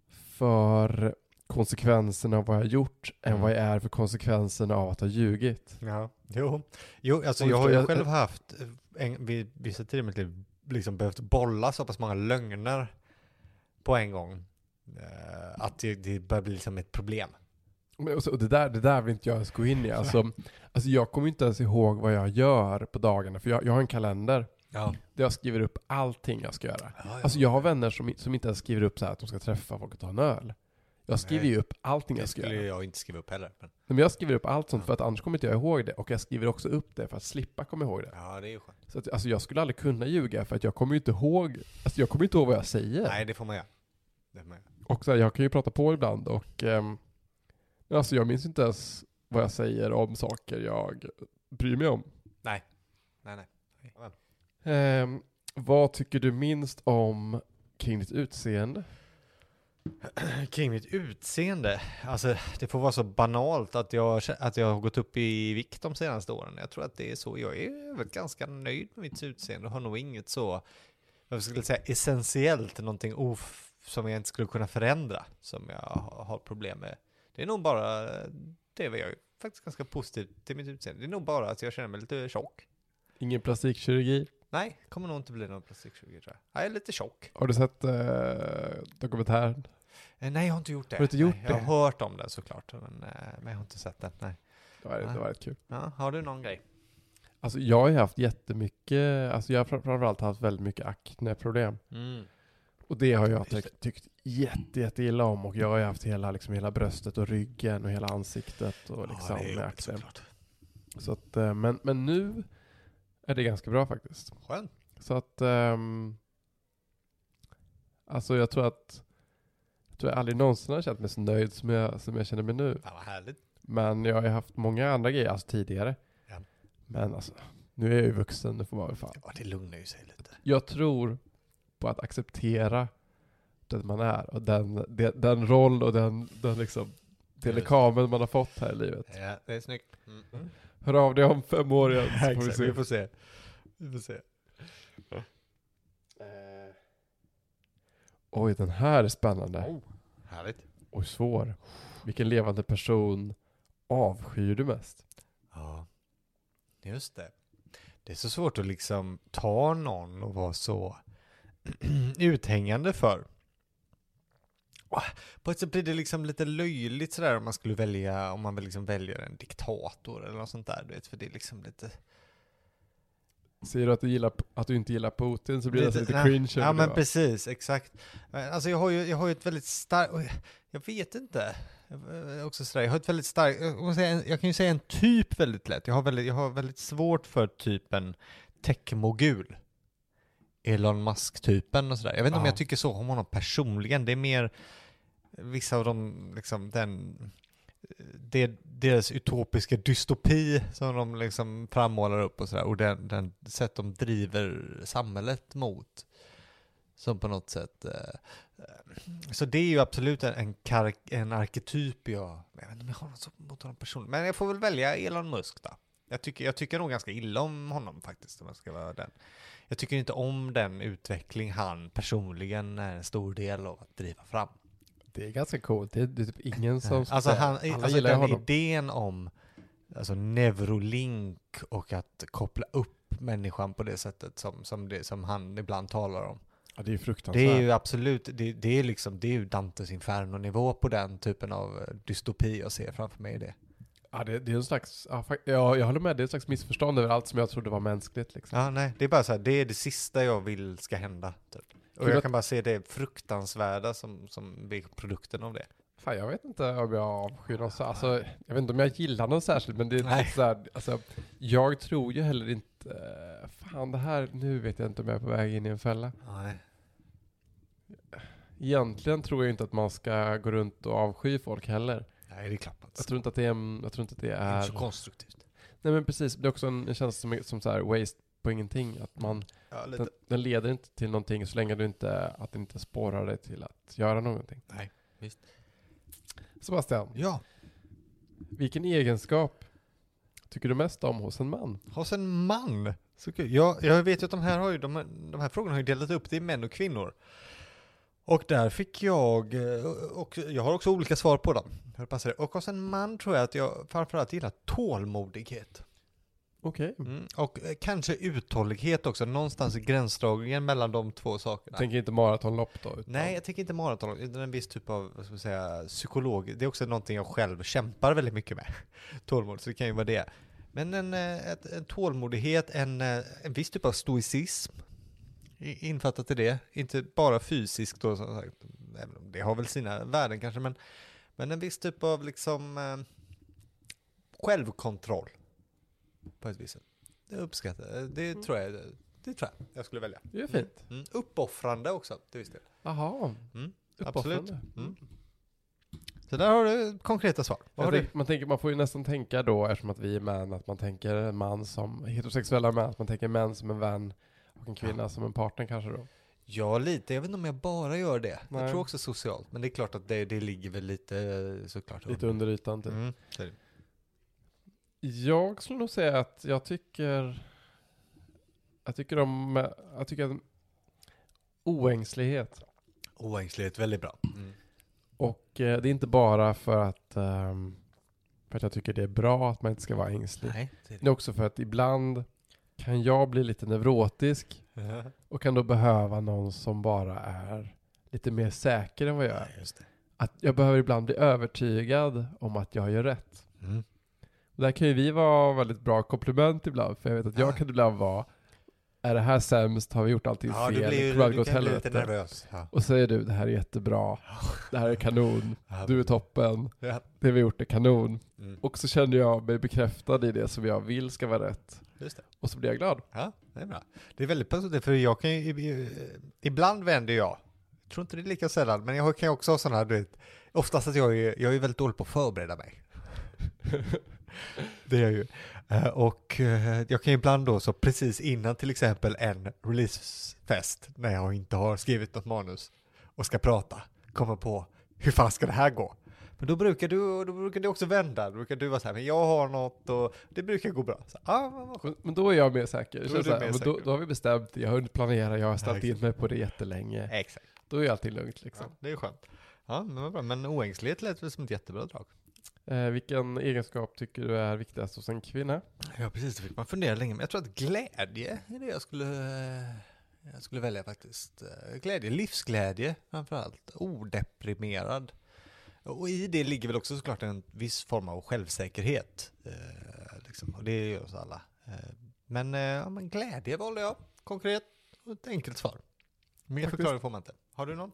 för konsekvenserna av vad jag har gjort än Mm. vad jag är för konsekvenserna av att ha ljugit. Ja, jo. Jo, alltså Om vi jag har ska- ju jag- själv haft, eh, en, vid vissa tider i mitt liv, liksom behövt bolla så pass många lögner på en gång. eh, Att det, det börjar bli liksom ett problem. Men, alltså, och så, och det, där, det där vill inte jag ens gå in i. Alltså, alltså, jag kommer inte ens ihåg vad jag gör på dagarna. För jag, jag har en kalender Ja. där jag skriver upp allting jag ska göra. ja, Alltså jag har vänner som, som inte ens skriver upp så här att de ska träffa folk och ta en öl. Jag skriver Nej. ju upp allting det jag ska skulle göra. Nej, jag inte skriva upp heller. Men, Men jag skriver upp allt sånt för att annars kommer inte jag ihåg det. Och jag skriver också upp det för att slippa komma ihåg det. ja, det är ju skönt. Så att, alltså jag skulle aldrig kunna ljuga för att jag kommer ju inte ihåg, alltså jag kommer ju inte ihåg vad jag säger. Nej, det får man göra. Det får man göra. Och så här, jag kan ju prata på ibland och ehm, men alltså jag minns inte ens vad jag säger om saker jag bryr mig om. Nej, nej. Men, Ehm, vad tycker du minst om kring ditt utseende? Kring mitt utseende, alltså det får vara så banalt att jag, kä- att jag har gått upp i vikt de senaste åren. Jag tror att det är så, jag är väl ganska nöjd med mitt utseende och har nog inget så, jag skulle säga essentiellt, någonting of, som jag inte skulle kunna förändra, som jag ha- har problem med. Det är nog bara, det var jag är faktiskt ganska positiv till mitt utseende. Det är nog bara att jag känner mig lite tjock. Ingen plastikkirurgi? Nej, kommer nog inte bli någon plastikkirurgi tror jag. Jag är lite tjock. Har du sett eh, dokumentären? Eh, Nej, jag har inte gjort det. Har du inte gjort nej, jag det? har hört om det såklart, men, eh, men jag har inte sett den. Nej. Det var, det var rätt kul. Ja, har du någon grej? Alltså jag har ju haft jättemycket, alltså jag har fra- framförallt haft väldigt mycket akneproblem. Mm. Och det har jag tyckt, tyckt jätte, jätte illa om och jag har ju haft hela, liksom, hela bröstet och ryggen och hela ansiktet och liksom med akne. Så att, eh, men, men nu är det ganska bra faktiskt. Skönt. Så att, ehm, alltså jag tror att, jag tror jag aldrig någonsin har känt mig så nöjd som jag, som jag känner mig nu. Ja, vad härligt. Men jag har ju haft många andra grejer alltså tidigare. Ja. Men alltså, nu är jag ju vuxen, nu får man väl fan. Ja, det lugnar ju sig lite. Jag tror på att acceptera den man är och den, de- den roll och den, den liksom telekamen man har fått här i livet. Ja, det är snyggt. Mm. Hör av dig om fem år igen så får vi Exakt, vi se. får se. Vi får se. Eh, Oj, den här är spännande oh, Härligt. och svår. Vilken levande person avskyr du mest? Ja, just det. Det är så svårt att liksom ta någon och vara så uthängande för. Och På ett sätt blir det liksom lite löjligt sådär om man skulle välja, om man väl liksom väljer en diktator eller något sånt där, du vet, för det är liksom lite... Säger du att du, gillar, att du inte gillar Putin så blir det alltså lite nej. cringe. Ja över men det, va? precis, exakt. Men Alltså jag har ju, jag har ju ett väldigt starkt, oj, jag vet inte. Jag är eh, Också sådär, jag har ett väldigt starkt, jag, måste säga en- jag kan ju säga en typ väldigt lätt. Jag har väldigt, jag har väldigt svårt för typen techmogul. Elon Musk-typen och sådär. Jag vet inte om Ja. jag tycker så om honom personligen. Det är mer vissa av de, liksom den, eh, det, deras utopiska dystopi som de liksom frammålar upp och sådär. Och den, den sätt de driver samhället mot. Som på något sätt... eh, eh, Så det är ju absolut en, en, kar- en arketyp jag... Jag vet inte om jag har något så- mot honom personligen. Men jag får väl välja Elon Musk då. Jag tycker, jag tycker nog ganska illa om honom faktiskt, om jag ska vara den. Jag tycker inte om den utveckling han personligen är en stor del av att driva fram. Det är ganska coolt. Det är, det är typ ingen som... Alltså, han, alla alltså gillar ju den honom. idén om alltså, neurolink och att koppla upp människan på det sättet som, som, det, som han ibland talar om. Ja, det är ju Det fruktansvärt. är ju absolut, det, det är liksom, det är ju Dantes Inferno-nivå på den typen av eh, dystopi jag ser framför mig i det. Ja, det, det är en slags... Ja, fa- ja, jag håller med. Det är en slags missförstånd över allt som jag trodde var mänskligt. Liksom. Ja, nej, det är bara så här, det är det sista jag vill ska hända. Typ. Och Kul jag att- kan bara se det fruktansvärda som, som blir produkten av det. Fan, jag vet inte om jag avskyr någon så, alltså, Jag vet inte om jag gillar någon särskilt, men det är Nej. lite så här, alltså, Jag tror ju heller inte... eh, Fan, det här... Nu vet jag inte om jag är på väg in i en fälla. Nej. Egentligen tror jag inte att man ska gå runt och avsky folk heller. Nej, det är klart man Jag inte tror inte att det är... en- Jag tror inte att det Det är är inte så konstruktivt. nej, men precis. Det är också en, en känsla som, är- som så här waste på ingenting. Att man, Ja, lite. den, den leder inte till någonting så länge du inte, att det inte sporrar dig till att göra någonting. Nej, visst. Sebastian, Ja, vilken egenskap tycker du mest om hos en man? hos en man. Så kul. Jag, jag vet ju att de här, har ju, de, här- de här frågorna har ju delat upp det i män och kvinnor. Och där fick jag, eh, och jag har också olika svar på dem. Hur passar det? Och hos en man tror jag att jag framförallt gillar tålmodighet. Okej. Mm. Och eh, kanske uthållighet också, någonstans i gränsdragningen mellan de två sakerna. Tänker inte maratonlopp då? Utan, Nej, jag tänker inte maraton, utan en viss typ av vad ska man säga, psykolog. Det är också någonting jag själv kämpar väldigt mycket med. Tålamod, så det kan ju vara det. Men en, eh, ett, en tålmodighet, en, eh, en viss typ av stoicism i- infattat i det. Inte bara fysiskt då, som sagt. Även om det har väl sina värden kanske, men, men en viss typ av liksom eh, självkontroll på ett visst sätt. Det uppskattar jag. Det tror jag, det tror jag jag skulle välja. Det är fint. Mm. Uppoffrande också, till viss del. Jaha. Mm, Uppoffrande. Mm. absolut. Så där har du konkreta svar. Vad har Jag du? tänk, man, tänker, man får ju nästan tänka då, eftersom att vi är män, att man tänker en man som heterosexuella män, att man tänker män som en vän och en kvinna som en partner kanske då. Ja, lite. Jag vet inte om jag bara gör det. Jag Nej. tror också socialt. Men det är klart att det, det ligger väl lite eh, såklart Lite under ytan typ. Mm. så är det. Jag skulle nog säga att jag tycker... Jag tycker om... Jag tycker att oängslighet. Oängslighet, väldigt bra. Mm. Och eh, det är inte bara för att, ehm, för att jag tycker det är bra att man inte ska vara ängslig. Nej, det är Det är också för att ibland kan jag bli lite neurotisk det. och kan då behöva någon som bara är lite mer säker än vad jag Ja, är. just det. Att jag behöver ibland bli övertygad om att jag gör rätt. Mm. Och Där kan ju vi vara väldigt bra komplement ibland, för jag vet att Ja. jag kan ibland vara Är det här sämst? Har vi gjort allting Ja, fel? du blir ju Kommer allt gå du åt kan bli lite helvete? nervös. Ja. Och säger du, det här är jättebra, det här är kanon, Ja. du är toppen, Ja. det vi har gjort är kanon. Mm. Och så känner jag mig bekräftad i det som jag vill ska vara rätt. Just det. Och så blir jag glad. Ja, det är bra. Det är väldigt positivt, för jag kan ju, i- i- ibland vänder jag. Jag tror inte det är lika sällan, men jag kan ju också ha sådana här, du vet, oftast att jag är, jag är väldigt dålig på att förbereda mig. det är jag ju. Eh, Och eh, jag kan ju ibland då, så precis innan till exempel en releasefest, när jag inte har skrivit något manus och ska prata, komma på hur fan ska det här gå? Men då brukar du, då brukar du också vända, då brukar du vara så här, men jag har något och det brukar gå bra. Så, ah, vad skönt. Men, men då är jag mer säker. Då Då, är känns du så här, mer men då, säker. då har vi bestämt, jag har hunnit planera, jag har ställt in exakt. mig på det jättelänge. Exakt. Då är allting lugnt liksom. Ja, det är skönt. Ja, men vad bra. Men oängslighet lät väl som ett jättebra drag. Eh, vilken egenskap tycker du är viktigast hos en kvinna? Ja, precis. Det fick man fundera länge. Men jag tror att glädje är det jag skulle, eh, jag skulle välja faktiskt. Eh, Glädje, livsglädje framför allt. Odeprimerad. Och i det ligger väl också såklart en viss form av självsäkerhet. Eh, liksom. Och det är ju oss alla. Eh, men, eh, ja, men glädje valde jag. Konkret och ett enkelt svar. Mer Faktiskt. förklaring får man inte. Har du någon?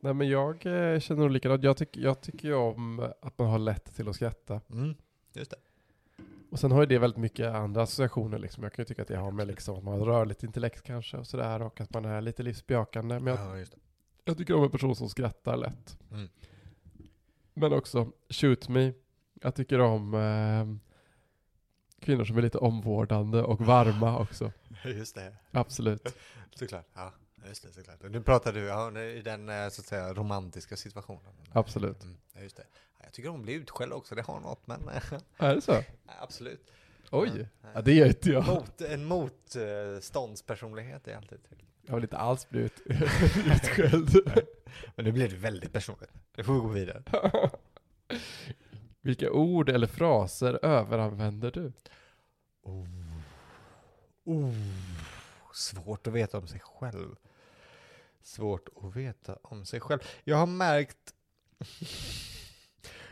Nej men jag eh, känner nog likadant. Jag, tyck, jag tycker ju om att man har lätt till att skratta. Mm, just det. Och sen har ju det väldigt mycket andra associationer liksom. Jag kan ju tycka att jag har med liksom att man har ett rörligt intellekt kanske och sådär och att man är lite livsbejakande. Men jag, Ja, just det. jag tycker om en person som skrattar lätt. Mm. Men också, shoot me. Jag tycker om eh, kvinnor som är lite omvårdande och varma också. Just det. Absolut. Såklart. Ja, Ja, Just det, såklart. Och Nu pratar du ja, nu i den eh, så att säga romantiska situationen. Absolut. Mm, ja, just det. Ja, Jag tycker om blir utskälld också, det har något, men eh, Är det så? absolut. Oj! Ja, det gör inte jag. Mot, en motståndspersonlighet är alltid trevligt. Jag har inte alls blivit utskälld. Men nu blev det väldigt personligt. Nu får vi gå vidare. Vilka ord eller fraser överanvänder du? Oh, svårt att veta om sig själv. Svårt att veta om sig själv. Jag har märkt...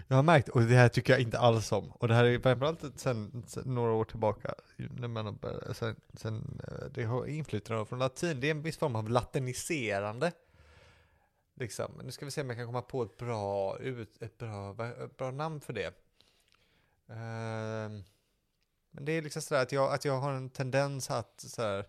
Jag har märkt, och det här tycker jag inte alls om, och det här är framförallt sen, sen några år tillbaka, när man har, börjat- sen, sen, eh, det har inflytande från latin, det är en viss form av latiniserande. Liksom. Nu ska vi se om jag kan komma på ett bra, ut, ett bra, ett bra namn för det. Ehm, men det är liksom sådär att jag, att jag har en tendens att sådär,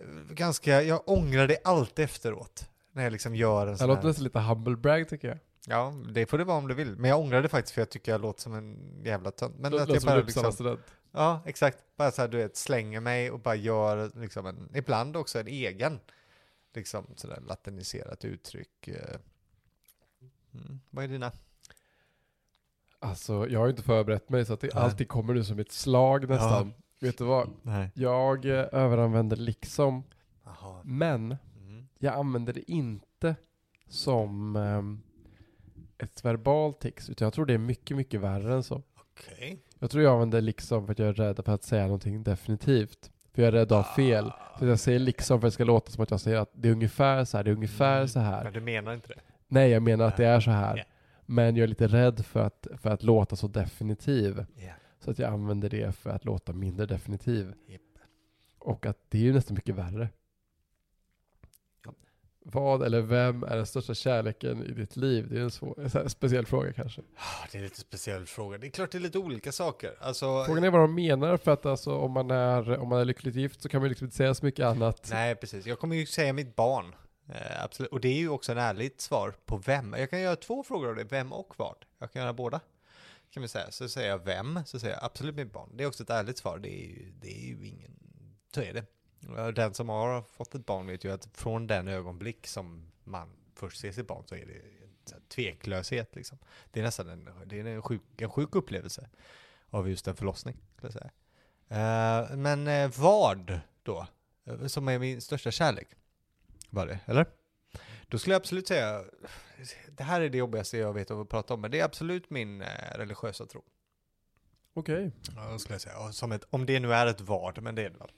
eh, ganska, jag ångrar det alltid efteråt. När jag liksom gör en Det sån låter här... nästan lite humble brag tycker jag. Ja, det får det vara om du vill. Men jag ångrar det faktiskt för jag tycker jag låter som en jävla tönt. Men Lå- att låter jag som alltså. bara en Uppsala liksom, student. ja exakt, bara så här, du vet, slänger mig och bara gör liksom en, ibland också en egen, liksom sådär latiniserat uttryck. eh. Mm, vad är dina? Alltså, jag har ju inte förberett mig så att det Nej. alltid kommer nu som ett slag nästan. Vet du vad? Nej. Jag eh, överanvänder liksom, Jaha. men Mm. jag använder det inte som ehm, ett verbalt tics, utan jag tror det är mycket, mycket värre än så. Okej. Jag tror jag använder liksom för att jag är rädd för att säga någonting definitivt. För jag är rädd att ha fel. Så jag säger liksom för att det ska låta som att jag säger att det är ungefär så här, det är ungefär Mm. så här. Men du menar inte det? Nej, jag menar att det är så här. Ja. Men jag är lite rädd för att, för att låta så definitiv. Ja. Så att jag använder det för att låta mindre definitiv. Japp. Och att det är ju nästan mycket värre. Ja. Vad eller vem är den största kärleken i ditt liv? Det är en, svår, en så här speciell fråga kanske. Ah, Det är lite speciell fråga. Det är klart det är lite olika saker. Alltså, Frågan är vad de menar för att alltså, om, man är, om man är lyckligt gift så kan man ju liksom inte säga så mycket annat. Nej, precis. Jag kommer ju säga mitt barn. Eh, absolut. Och det är ju också en ärligt svar på vem. Jag kan göra två frågor av det, vem och vad. Jag kan göra båda. Kan vi säga. Så säger jag vem, så säger jag absolut mitt barn. Det är också ett ärligt svar. Det är ju, det är ju ingen... Så är det. Eh, Den som har fått ett barn vet ju att från den ögonblick som man först ser sitt barn så är det en sån här tveklöshet liksom. Det är nästan en, det är en, sjuk, en sjuk upplevelse av just en förlossning. Skulle jag säga. Eh, men eh, vad då? Eh, Som är min största kärlek. Var det, eller? Då skulle jag absolut säga, det här är det jobbigaste jag vet att prata om, men det är absolut min eh, religiösa tro. Okej, Ja, då skulle jag säga. Och Som ett, om det nu är ett vad, men det är det väl?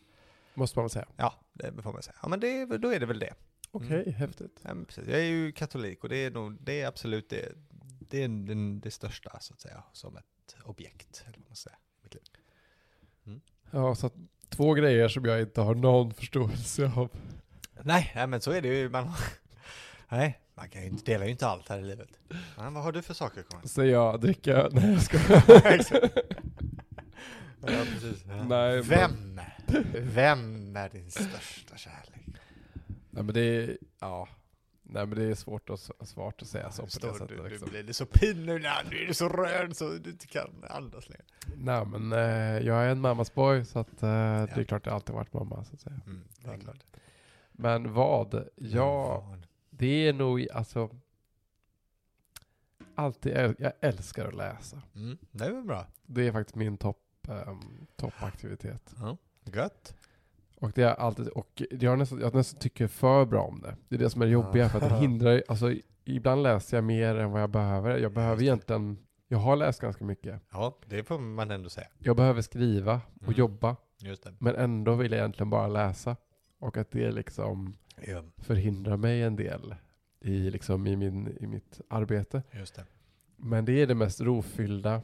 måste man väl säga. Ja, det får man säga. Ja, men det, är väl- då är det väl det. Okej, Mm. häftigt. Ja, men precis. Jag är ju katolik och det är, nog, det är absolut det, det, är den, det största, så att säga, som ett objekt. Eller vad man säger. Ja, så att, två grejer som jag inte har någon förståelse av. Nej, nej, men så är det ju. Man, nej, man kan ju inte, delar ju inte allt här i livet. Men vad har du för saker, Karin? Så jag dricker öl. Nej, jag ska. Ja, precis. Ja. Nej, Vem? Vem är din största kärlek? Nej men det är, ja. Nej men det är svårt att, svårt att säga så på Förstår det du, sättet. nu Liksom. blir det så pin nu när du är så röd så du inte kan andas längre. Nej men eh, jag är en mammas boy så att eh, det är Ja. klart jag alltid varit mamma så att säga. Mm, det är klart. Men vad? Ja, det är nog alltså. Alltid, äl- jag älskar att läsa. Mm, det är väl bra. Det är faktiskt min topp, ehm, toppaktivitet. Ja. Gött. Och det är alltid, och jag nästan, jag nästan tycker för bra om det. Det är det som är det jobbiga för att det hindrar, ju- alltså ibland läser jag mer än vad jag behöver. Jag behöver egentligen, jag har läst ganska mycket. Ja, det får man ändå säga. Jag behöver skriva och Mm. jobba, Just det. men ändå vill jag egentligen bara läsa. Och att det liksom Ja, förhindrar mig en del i, liksom, i, min, i mitt arbete. just det. Men det är det mest rofyllda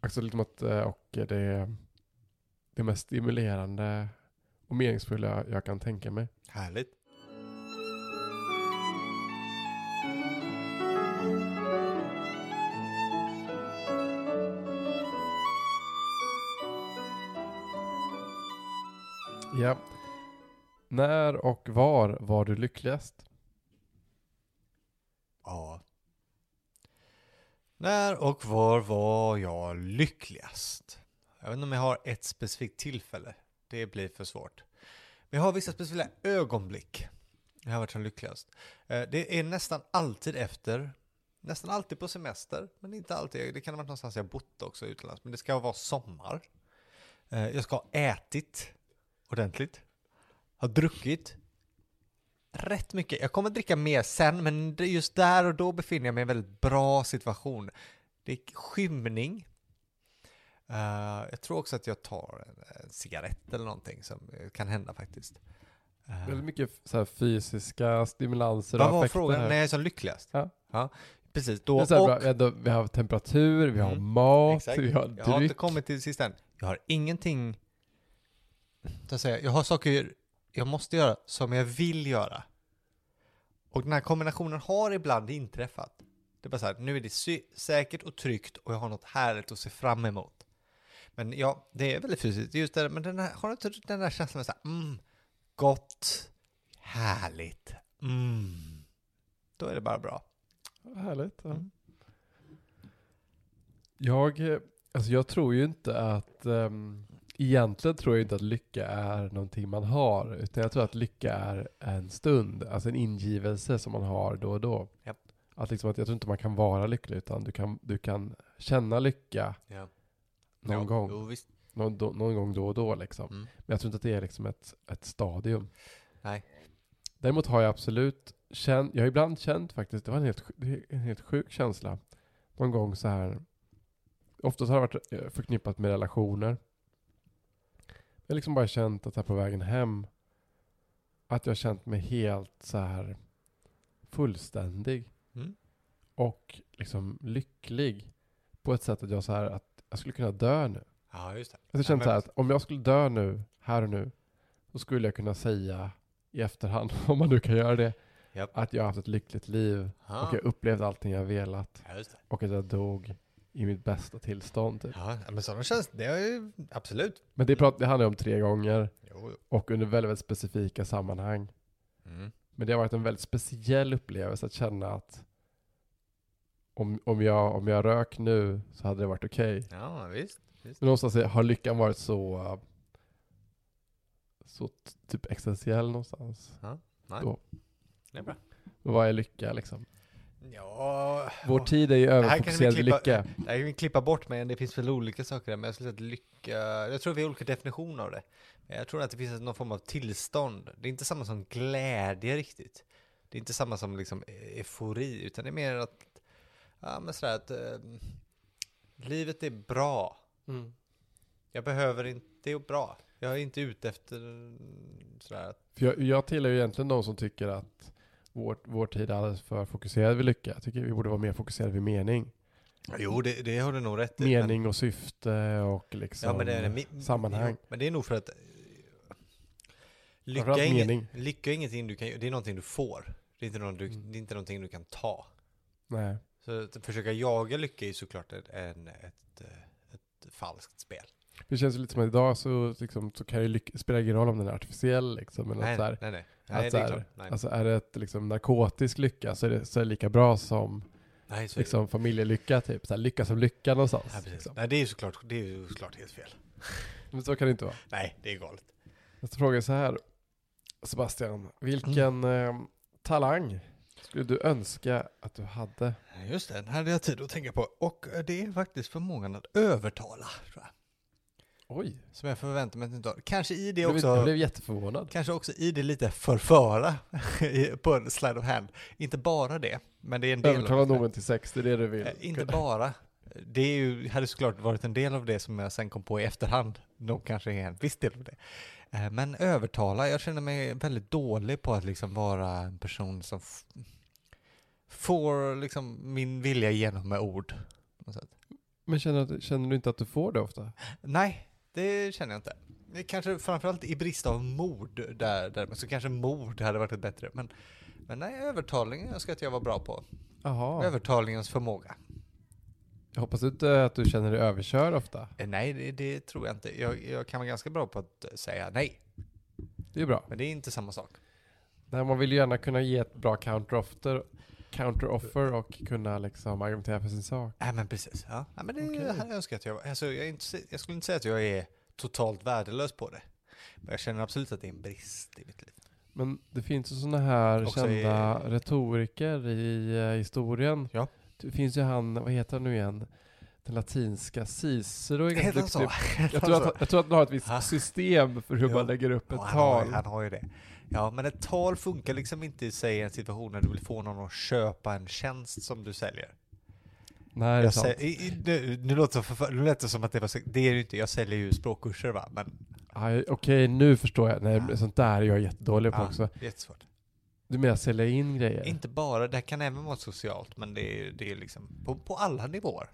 alltså liksom att, eh, och det, det mest stimulerande och meningsfulla jag kan tänka mig. Härligt. Ja. När och var var du lyckligast? Ja. När och var var jag lyckligast? Jag vet inte om jag har ett specifikt tillfälle. Det blir för svårt. Men jag har vissa speciella ögonblick. Jag har varit som lyckligast. Eh, Det är nästan alltid efter, nästan alltid på semester, men inte alltid. Det kan ha varit någonstans jag bott också utomlands, men det ska vara sommar. Eh, Jag ska ha ätit ordentligt. Har druckit rätt mycket. Jag kommer att dricka mer sen, men det- just där och då befinner jag mig i en väldigt bra situation. Det är skymning. Eh, jag tror också att jag tar en, en cigarett eller någonting som eh, kan hända faktiskt. Eh, Väldigt mycket f- så här, fysiska stimulanser vad var affekter frågan? här. När jag är som lyckligast? Ja. Precis, Det då är så här, och... vi, har, ändå- vi har temperatur, vi har Mm, mat, Exakt. vi har Jag har inte dryck. kommit till sist än. Jag har ingenting... Så att säga, jag har saker jag måste göra som jag vill göra. Och den här kombinationen har ibland inträffat. Det är bara så här, nu är det sy- säkert och tryggt och jag har något härligt att se fram emot. Men ja, det är väldigt fysiskt. Just det, men den här, har du inte den där känslan med så här, mm, gott, härligt, mm. Då är det bara bra. Härligt. Ja. Mm. Jag, eh, alltså jag tror ju inte att, ehm, egentligen tror jag inte att lycka är någonting man har, utan jag tror att lycka är en stund, alltså en ingivelse som man har då och då. Japp. Att liksom att jag tror inte man kan vara lycklig, utan du kan, du kan känna lycka Ja. någon ja, gång, Jo, visst. någon, då, någon gång då och då liksom. Mm. Men jag tror inte att det är liksom ett, ett stadium. Nej. Däremot har jag absolut känt, jag har ibland känt faktiskt, det var en helt, sj- det är en helt sjuk känsla. Någon gång så här, oftast har det varit eh, förknippat med relationer. Jag har liksom bara känt att här på vägen hem, att jag har känt mig helt så här fullständig Mm. och liksom lycklig på ett sätt att jag så här att jag skulle kunna dö nu. Ja, just det. Alltså jag kände Ja, så men- här att om jag skulle dö nu, här och nu, så skulle jag kunna säga i efterhand, om man nu kan göra det, Japp. att jag har haft ett lyckligt liv Ah. och jag upplevde allting jag velat Ja, just det. och att jag dog i mitt bästa tillstånd. Typ. Ja, men sådana känns det. är ju absolut. Men det, prat, det handlar ju om tre gånger Jo, jo. och under väldigt, väldigt specifika sammanhang. Mm. Men det har varit en väldigt speciell upplevelse att känna att om, om, jag, om jag rök nu så hade det varit okej. Ja, visst. Men någonstans är- har lyckan varit så eh, så t- typ existentiell någonstans. Det är bra. Men vad är lycka liksom? Ja, Vår tid är ju här kan vi överfokuserad vid klippa- lycka. det här kan vi klippa bort men det finns väl olika saker där. Men jag skulle säga att lycka, jag tror vi har olika definitioner av det. Men jag tror att det finns någon form av tillstånd. Det är inte samma som glädje riktigt. Det är inte samma som liksom eufori, utan det är mer att, ja men sådär att eh, livet är bra. Mm. Jag behöver inte, det är bra. Jag är inte ute efter mm, sådär att, För jag, jag tillhör ju egentligen de som tycker att vår, vår tid är alldeles för fokuserad vid lycka. Jag tycker vi borde vara mer fokuserade vid mening. jo det, det har du nog rätt i. men- Mening och syfte och liksom ja, men det är, mi- sammanhang. Jo, men det är nog för att eh, lycka Framförallt är, inget, mening. lycka är ingenting du kan, det är någonting du får. Det är inte, någon du, Mm. det är inte någonting du kan ta. Nej. Så att försöka jaga lycka är ju såklart ett, en, ett, eh, ett falskt spel. Det känns ju lite som att idag så, liksom, så kan ju lycka, spelar ingen roll om den är artificiell liksom. Eller nej, att så här, nej, nej. att Nej, så det är här, klart. Nej, Alltså är det ett liksom, narkotisk lycka så är, det, så är det lika bra som Typ. nej, så är det. liksom, familjelycka typ. Så här, lycka som lycka någonstans. Nej, precis. liksom. nej, det är ju såklart, det är ju såklart helt fel. Men så kan det inte vara. Nej, det är galet. Nästa fråga är så här. Sebastian, vilken Mm. eh, talang skulle du önska att du hade? Just det, den hade jag tid att tänka på. Och eh, det är faktiskt förmågan att övertala, tror jag. Oj, Som jag förväntar mig att du inte har. Kanske i det jag blev, också... jag blev jätteförvånad. Kanske också i det lite förföra i- på en slide of hand. Inte bara det, men det är en del Övertala av det. någon till sex, det är det du vill. Eh, Inte bara. Det är ju, hade såklart varit en del av det som jag sen kom på i efterhand. Nog kanske är en viss del av det. Eh, Men övertala, jag känner mig väldigt dålig på att liksom vara en person som f- får liksom min vilja igenom med ord. på något sätt. Men känner, du- känner du inte att du får det ofta? Nej, det känner jag inte. Det Kanske framförallt i brist av mod där, där så kanske mod hade varit ett bättre. Men, men nej, övertalningen önskar jag att jag var bra på. Jaha, Övertalningens förmåga. jag hoppas inte att du känner dig överkörd ofta. Eh, Nej, det, det tror jag inte. Jag, jag kan vara ganska bra på att eh, säga nej, Det är bra. men det är inte samma sak. Nej, man vill ju gärna kunna ge ett bra counter-offer counter och kunna liksom argumentera för sin sak. Nej, men precis. Ja, nej, men det Okej. hade jag önskat att jag var. Alltså, jag, är inte, jag skulle inte säga att jag är totalt värdelös på det. Men jag känner absolut att det är en brist i mitt liv. Men det finns ju sådana här Också kända retoriker i eh, historien. Ja. Det finns ju han, vad heter han nu igen? Den latinska Cicero är ganska Heter han duktig. så? Jag tror, att, jag tror att han har ett Ah. visst system för hur Jo. man lägger upp ett Ja, han, har, tal. ju- han har ju det. Ja, men ett tal funkar liksom inte i sig i en situation när du vill få någon att köpa en tjänst som du säljer. Nej, det är Jag sant. sä- i- i- nu, nu, låter det som förför- nu lät det som att det var så, det är det ju inte, jag säljer ju språkkurser va, men Aj, Okej, nu förstår jag. Nej, Ah. men sånt där är jag jättedålig på ja, också. jättesvårt. Du menar sälja in grejer? Inte bara, det här kan även vara socialt, men det är, det är liksom på, på alla nivåer.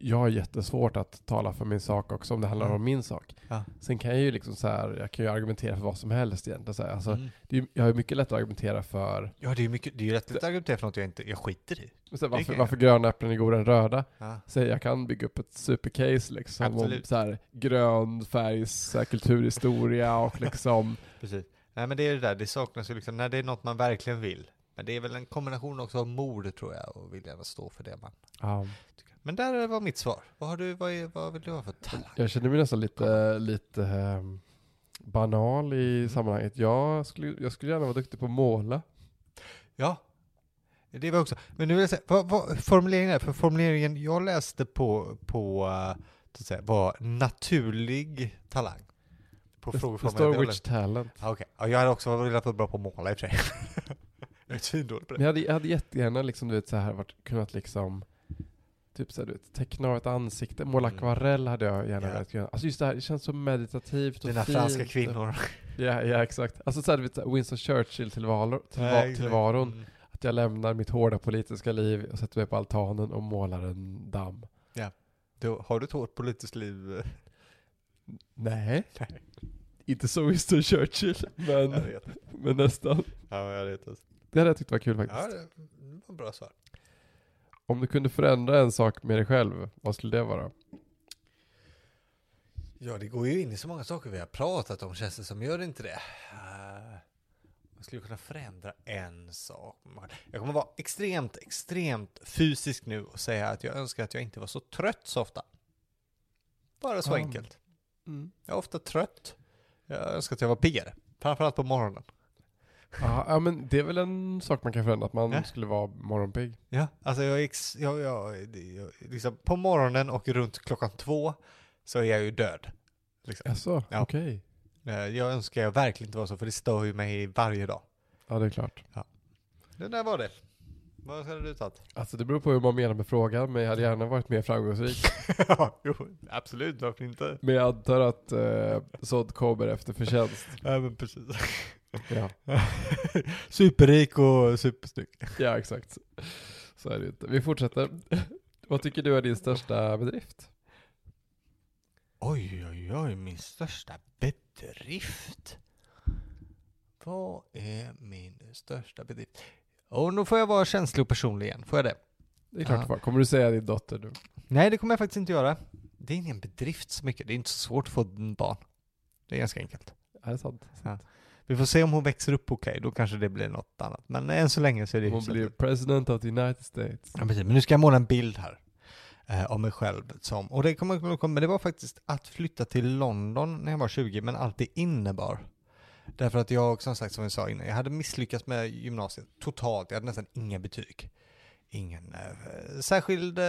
Jag har jättesvårt att tala för min sak också om det handlar Mm. om min sak. Ja. Sen kan jag ju liksom så här, jag kan ju argumentera för vad som helst egentligen. Så här, alltså, Mm. det är, ju- jag har ju mycket lättare att argumentera för Ja, det är ju mycket, det är ju rätt lätt att argumentera för något jag inte, jag skiter i. Men sen, varför, kan jag. varför gröna äpplen är godare än röda. Ja. Så jag kan bygga upp ett supercase liksom om Absolut. så här, grön färgs så här, kulturhistoria och liksom Precis. Nej men det är det där, det saknas ju liksom när det är något man verkligen vill. Men det är väl en kombination också av mod tror jag och viljan att stå för det man ja. tycker. Men där var mitt svar. Vad, har du, vad, är, vad vill du ha för talang? Jag känner mig nästan lite, lite ehm, banal Mm. i sammanhanget. Jag skulle, jag skulle gärna vara duktig på att måla. Ja, det var också. Men nu vill jag säga, vad, vad, formuleringen är, för formuleringen jag läste på, på eh, så att säga, var naturlig talang. På Det, det frågeformen. står Jag- which talent. Ja, Okej, ja, jag hade också velat vara bra på att måla i och för sig. jag är svindålig på Men det. jag hade, jag hade jättegärna liksom, du vet, så här, varit, kunnat liksom Typ såhär, du vet, teckna av ett ansikte, måla Mm. akvarell hade jag gärna Ja. velat göra. Alltså just det här, det känns så meditativt och Dina fint. franska kvinnor. Ja, ja exakt. Alltså såhär, du vet, såhär, Winston Churchill tillvaro, Ja, tillva, exakt. tillvaron. Mm. Att jag lämnar mitt hårda politiska liv och sätter mig på altanen och målar en damm. Då, har du ett hårt politiskt liv? Nej, Nej, inte som Winston Churchill, men, jag vet. men nästan. Ja, jag vet. alltså. Det hade jag tyckt var kul faktiskt. Ja, det det var bra svar. Om du kunde förändra en sak med dig själv, vad skulle det vara? Ja, det går ju in i så många saker vi har pratat om känns det som. Gör det inte det? Eh, Man skulle kunna förändra en sak. Man- Jag kommer vara extremt, extremt fysisk nu och säga att jag önskar att jag inte var så trött så ofta. Bara så Ja. enkelt. Jag är ofta trött. Jag önskar att jag var piggare. Framförallt på morgonen. Ja, ja, men det är väl en sak man kan förändra, att man Ja. skulle vara morgonpigg. Ja, alltså jag, är ex, jag, jag, det- jag liksom på morgonen och runt klockan två så är jag ju död. Liksom. Jaså, Ja. okej. Eh, Jag önskar jag verkligen inte var så för det stör ju mig varje dag. Ja, det är klart. Det där var det. Vad hade du tagit? Alltså det beror på hur man menar med frågan, men jag hade gärna varit mer framgångsrik. ja, jo, absolut, varför inte? Men jag antar att eh, sånt kommer efter förtjänst. Ja, men precis. Ja, Superrik och supersnygg. ja exakt. Så är det ju inte. Vi fortsätter. Vad tycker du är din största bedrift? Oj, oj, oj, min största bedrift. Vad är min största bedrift? Och nu får jag vara känslig och personlig igen, får jag det? Det är klart Ja. det var. Kommer du säga din dotter nu? Nej, det kommer jag faktiskt inte göra. Det är ingen bedrift så mycket, det är inte så svårt att få en barn. Det är ganska enkelt. Är det sant? Vi får se om hon växer upp okej, då kanske det blir något annat. Men än så länge så är det Hon hyfsat blir president of the United States. Ja, precis. Men nu ska jag måla en bild här eh, av mig själv. Som, och det, kommer, kommer- kommer- men det var faktiskt att flytta till London när jag var 20, men allt det innebar. Därför att jag, som sagt, som jag sa innan, jag hade misslyckats med gymnasiet totalt. Jag hade nästan inga betyg. Ingen eh, särskild eh,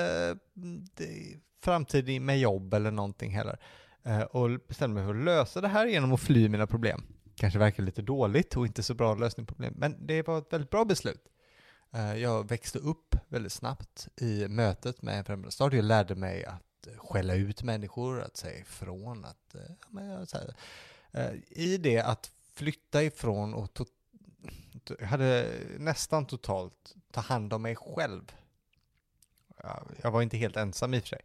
det- framtid i- med jobb eller någonting heller. Eh, och bestämde mig för att lösa det här genom att fly mina problem. Kanske verkar lite dåligt och inte så bra lösning på problem, men det var ett väldigt bra beslut. Eh, Jag växte upp väldigt snabbt i mötet med en främmande stad. Jag lärde mig att eh, skälla ut människor, att säga ifrån, att... eh, ja, men jag- så här. Eh, I det att flytta ifrån och to- to- jag hade nästan totalt ta hand om mig själv. Ja, Jag var inte helt ensam i och för sig.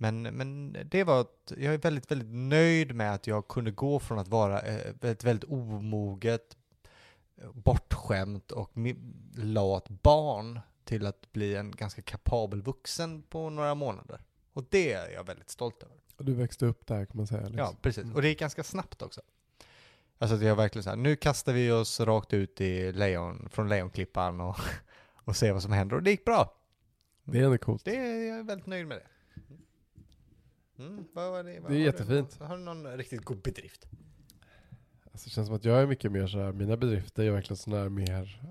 Men, men det var att jag är väldigt, väldigt nöjd med att jag kunde gå från att vara eh, ett väldigt omoget, bortskämt och mi- lat barn till att bli en ganska kapabel vuxen på några månader. Och det är jag väldigt stolt över. Och Du växte upp där kan man säga. Liksom. Ja, precis. Mm. Och det är ganska snabbt också. Alltså det är verkligen så här, nu kastar vi oss rakt ut i lejon, från lejonklippan och, och ser vad som händer. Och det gick bra. Det är ändå coolt. Det är jag är väldigt nöjd med det. Mm, vad var det, vad Det är har jättefint. Du, har du någon riktigt god bedrift? Alltså, det känns som att jag är mycket mer så här, mina bedrifter är verkligen sådana här mer,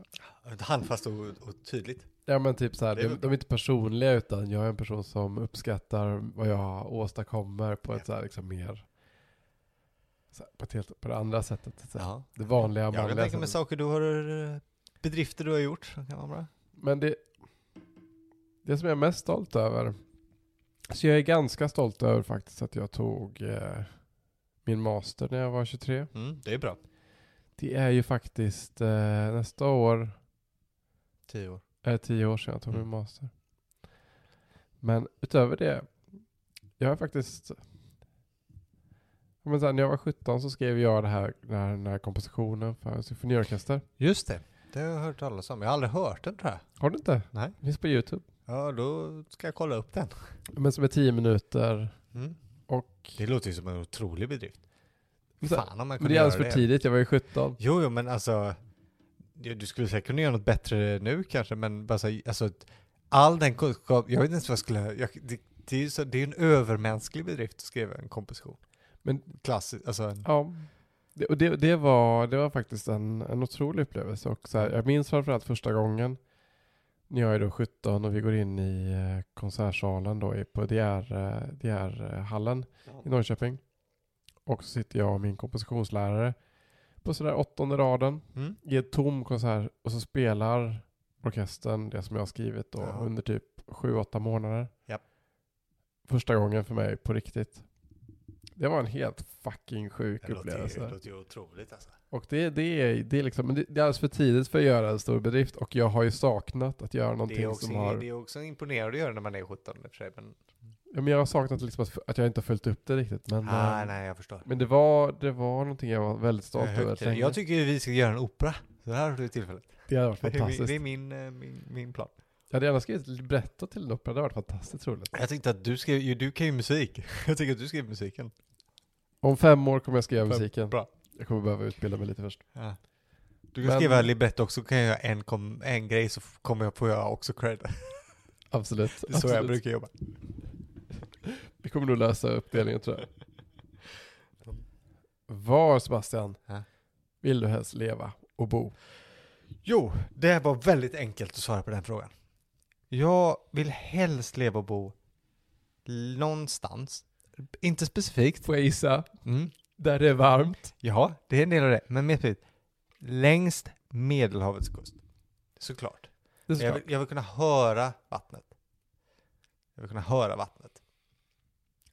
Handfast och, och tydligt. ja men typ så här, Det är de, väl- de är inte personliga utan jag är en person som uppskattar vad jag åstadkommer på ett så här liksom mer, så här, på, ett helt, på det andra sättet. Så här, Ja. Det vanliga Jag kan manliga tänka mig sättet. saker du har, eh, bedrifter du har gjort som kan vara bra. Men det, det som jag är mest stolt över, så jag är ganska stolt över faktiskt att jag tog eh, min master när jag var 23. Mm, det är bra. Det är ju faktiskt eh, nästa år, Tio år. är tio år sedan jag tog Mm. min master. Men utöver det, jag har faktiskt, ja, men sen när jag var 17 så skrev jag det här, den, här, den här kompositionen för symfoniorkester. Just det. Det har jag hört talas om. Jag har aldrig hört den tror jag. Har du inte? Nej. Det finns på YouTube. Ja, då ska jag kolla upp den. Men som är tio minuter Mm. och... Det låter ju som en otrolig bedrift. Men så- Fan om man Men kunde det är göra alldeles det. för tidigt, jag var ju 17. Jo, jo, men alltså. Du du skulle säkert kunna göra något bättre nu kanske, men bara så, alltså, all den kunskap, jag vet inte vad jag skulle, jag, det, det är ju så, det är ju en övermänsklig bedrift att skriva en komposition. Men- Klassisk, alltså en, Ja. Det, och det, det, var, det var faktiskt en, en otrolig upplevelse. Och så här, jag minns framförallt första gången när jag är då 17 och vi går in i eh, konsertsalen då i- på DR-hallen i Norrköping. Och så sitter jag och min kompositionslärare på sådär åttonde raden Mm? i ett tom konsert och så spelar orkestern det som jag har skrivit då Ja. under typ sju åtta månader. Japp. Första gången för mig på riktigt. Det var en helt fucking sjuk Det låter, upplevelse. ju- det låter ju otroligt alltså. Och det, det, är, det, är liksom, men det, det är alldeles för tidigt för att göra en stor bedrift och jag har ju saknat att göra Det är, någonting också, som har... det är också imponerande att göra när man är 17 i och för sig, men, Ja, men jag har saknat liksom att, att jag inte har följt upp det riktigt. Men, ah, eh, nej, jag förstår. men det, var, det var någonting jag var väldigt stolt Högt över. till det. länge. jag tycker ju vi ska göra en opera, så det här har du tillfället. det hade varit Det är, min- fantastiskt. det är min, eh, min, min plan. Jag hade gärna skrivit ett libretto till en opera, det hade varit fantastiskt roligt. Jag tänkte att du skriver, ju- du kan ju musik. Jag tycker att du skriver musiken. Om fem år kommer jag skriva Fem- musiken. bra. Jag kommer behöva utbilda mig lite först. Ja. Du kan Men- skriva libretto också, kan jag göra en, kom, en grej så f- kommer jag få göra också cred. Absolut. Det är så jag absolut. brukar jobba. Vi kommer nog lösa uppdelningen tror jag. Var Sebastian Ja. vill du helst leva och bo? Jo, det var väldigt enkelt att svara på den frågan. Jag vill helst leva och bo någonstans. Inte specifikt. Får jag gissa? Mm. Där det är varmt. Ja, det är en del av det. Men mer specifikt. Längst Medelhavets kust. Såklart. Det är Jag såklart. vill, jag vill kunna höra vattnet. Jag vill kunna höra vattnet.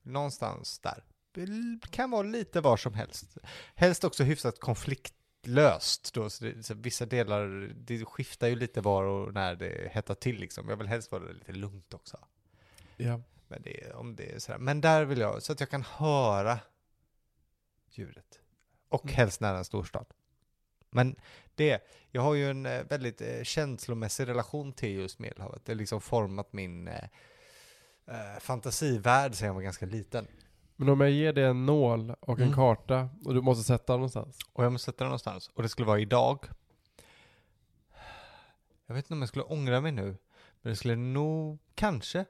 Någonstans där. Det kan vara lite var som helst. Helst också hyfsat konfliktlöst då, så det, så vissa delar, det skiftar ju lite var och när det hettar till liksom. Jag vill helst vara lite lugnt också. Ja. Men, det, om det är sådär. Men där vill jag, så att jag kan höra ljudet. Och Mm. helst nära en storstad. Men det, jag har ju en eh, väldigt eh, känslomässig relation till just Medelhavet. Det har liksom format min eh, eh, fantasivärld sedan jag var ganska liten. Men om jag ger dig en nål och en Mm. karta och du måste sätta den någonstans. Och jag måste sätta den någonstans. Och det skulle vara idag. Jag vet inte om jag skulle ångra mig nu. Men det skulle nog, kanske,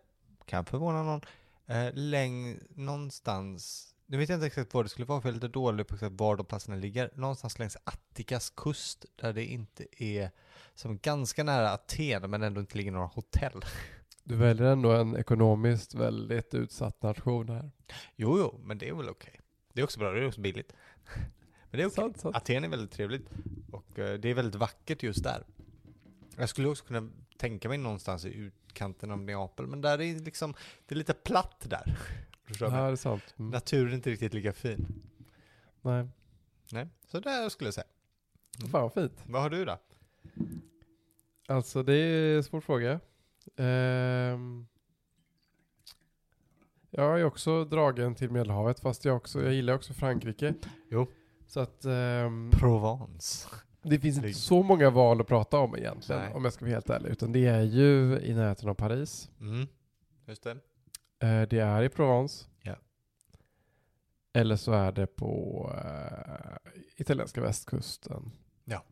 kan förvåna någon, eh, läng, någonstans. Nu vet jag inte exakt var det skulle vara för jag är lite dålig på exakt var de platserna ligger. Någonstans längs Attikas kust där det inte är, som ganska nära Aten men ändå inte ligger några hotell. Du väljer ändå en ekonomiskt väldigt utsatt nation här. Jo, jo, men det är väl okej. Det är också bra, det är också billigt. Men det är okej. Sant, sant. Aten är väldigt trevligt och eh, det är väldigt vackert just där. Jag skulle också kunna tänka mig någonstans i utkanten av Neapel, men där är liksom, det är lite platt där. Förstår Ja, du det vad jag menar? är sant. Mm. Naturen är inte riktigt lika fin. Nej. Mm. Nej, så där skulle jag säga. Mm. Fan vad fint. Vad har du då? Alltså det är en svår fråga. Ehm, jag är också dragen till Medelhavet fast jag, också, jag gillar också Frankrike. Jo. Så att ehm, Provence. det finns Ligg. inte så många val att prata om egentligen Nej. om jag ska vara helt ärlig. Utan det är ju i närheten av Paris. Mm. Just det. Eh, det är i Provence. Ja. Eller så är det på eh, italienska västkusten. Ja.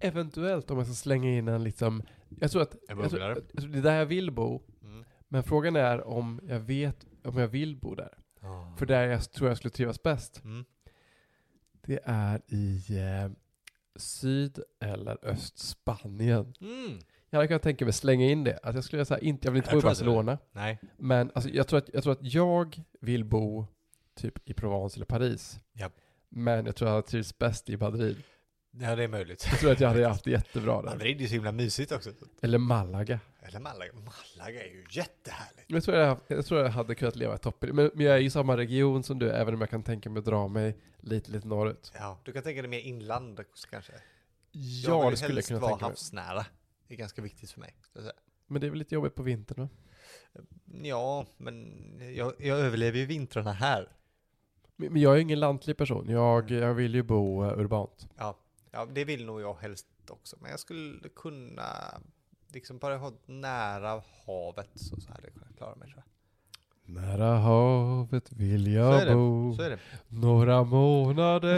Eventuellt om jag ska slänga in en liksom, jag tror att En jag tror, bubblare. jag tror det är där jag vill bo. Mm. Men frågan är om jag vet om jag vill bo där. Ja. För där jag tror jag skulle trivas bäst. Mm. Det är i eh, syd eller östspanien. Mm. Jag hade kunnat tänka mig slänga in det. Att jag skulle säga inte, jag vill inte bo Jag i tror att det- Barcelona. Nej. Men alltså, jag, tror att, jag tror att jag vill bo typ i Provence eller Paris. Japp. Men jag tror att jag trivs bäst i Madrid. Ja, det är möjligt. Jag tror att jag hade haft det jättebra där. Madrid är ju så himla mysigt också. Eller Malaga. Eller Malaga. Malaga är ju jättehärligt. Jag tror jag, hade haft- jag, tror jag hade kunnat leva i toppen. Men, men jag är ju i samma region som du, även om jag kan tänka mig att dra mig lite, lite norrut. Ja, du kan tänka dig mer inland också kanske. Jag Ja, vill det skulle jag helst kunna vara tänka mig. havsnära. Det är ganska viktigt för mig. Så att säga. Men det är väl lite jobbigt på vintern va? Ja, men jag, jag överlever ju vintrarna här. Men men jag är ju ingen lantlig person. Jag, jag vill ju bo eh, urbant. Ja, det vill nog jag helst också. Men jag skulle kunna, liksom bara ha nära havet så, så hade jag kunnat klara mig tror jag. Mm. Nära havet vill Så är jag det. bo. Så är det. Några månader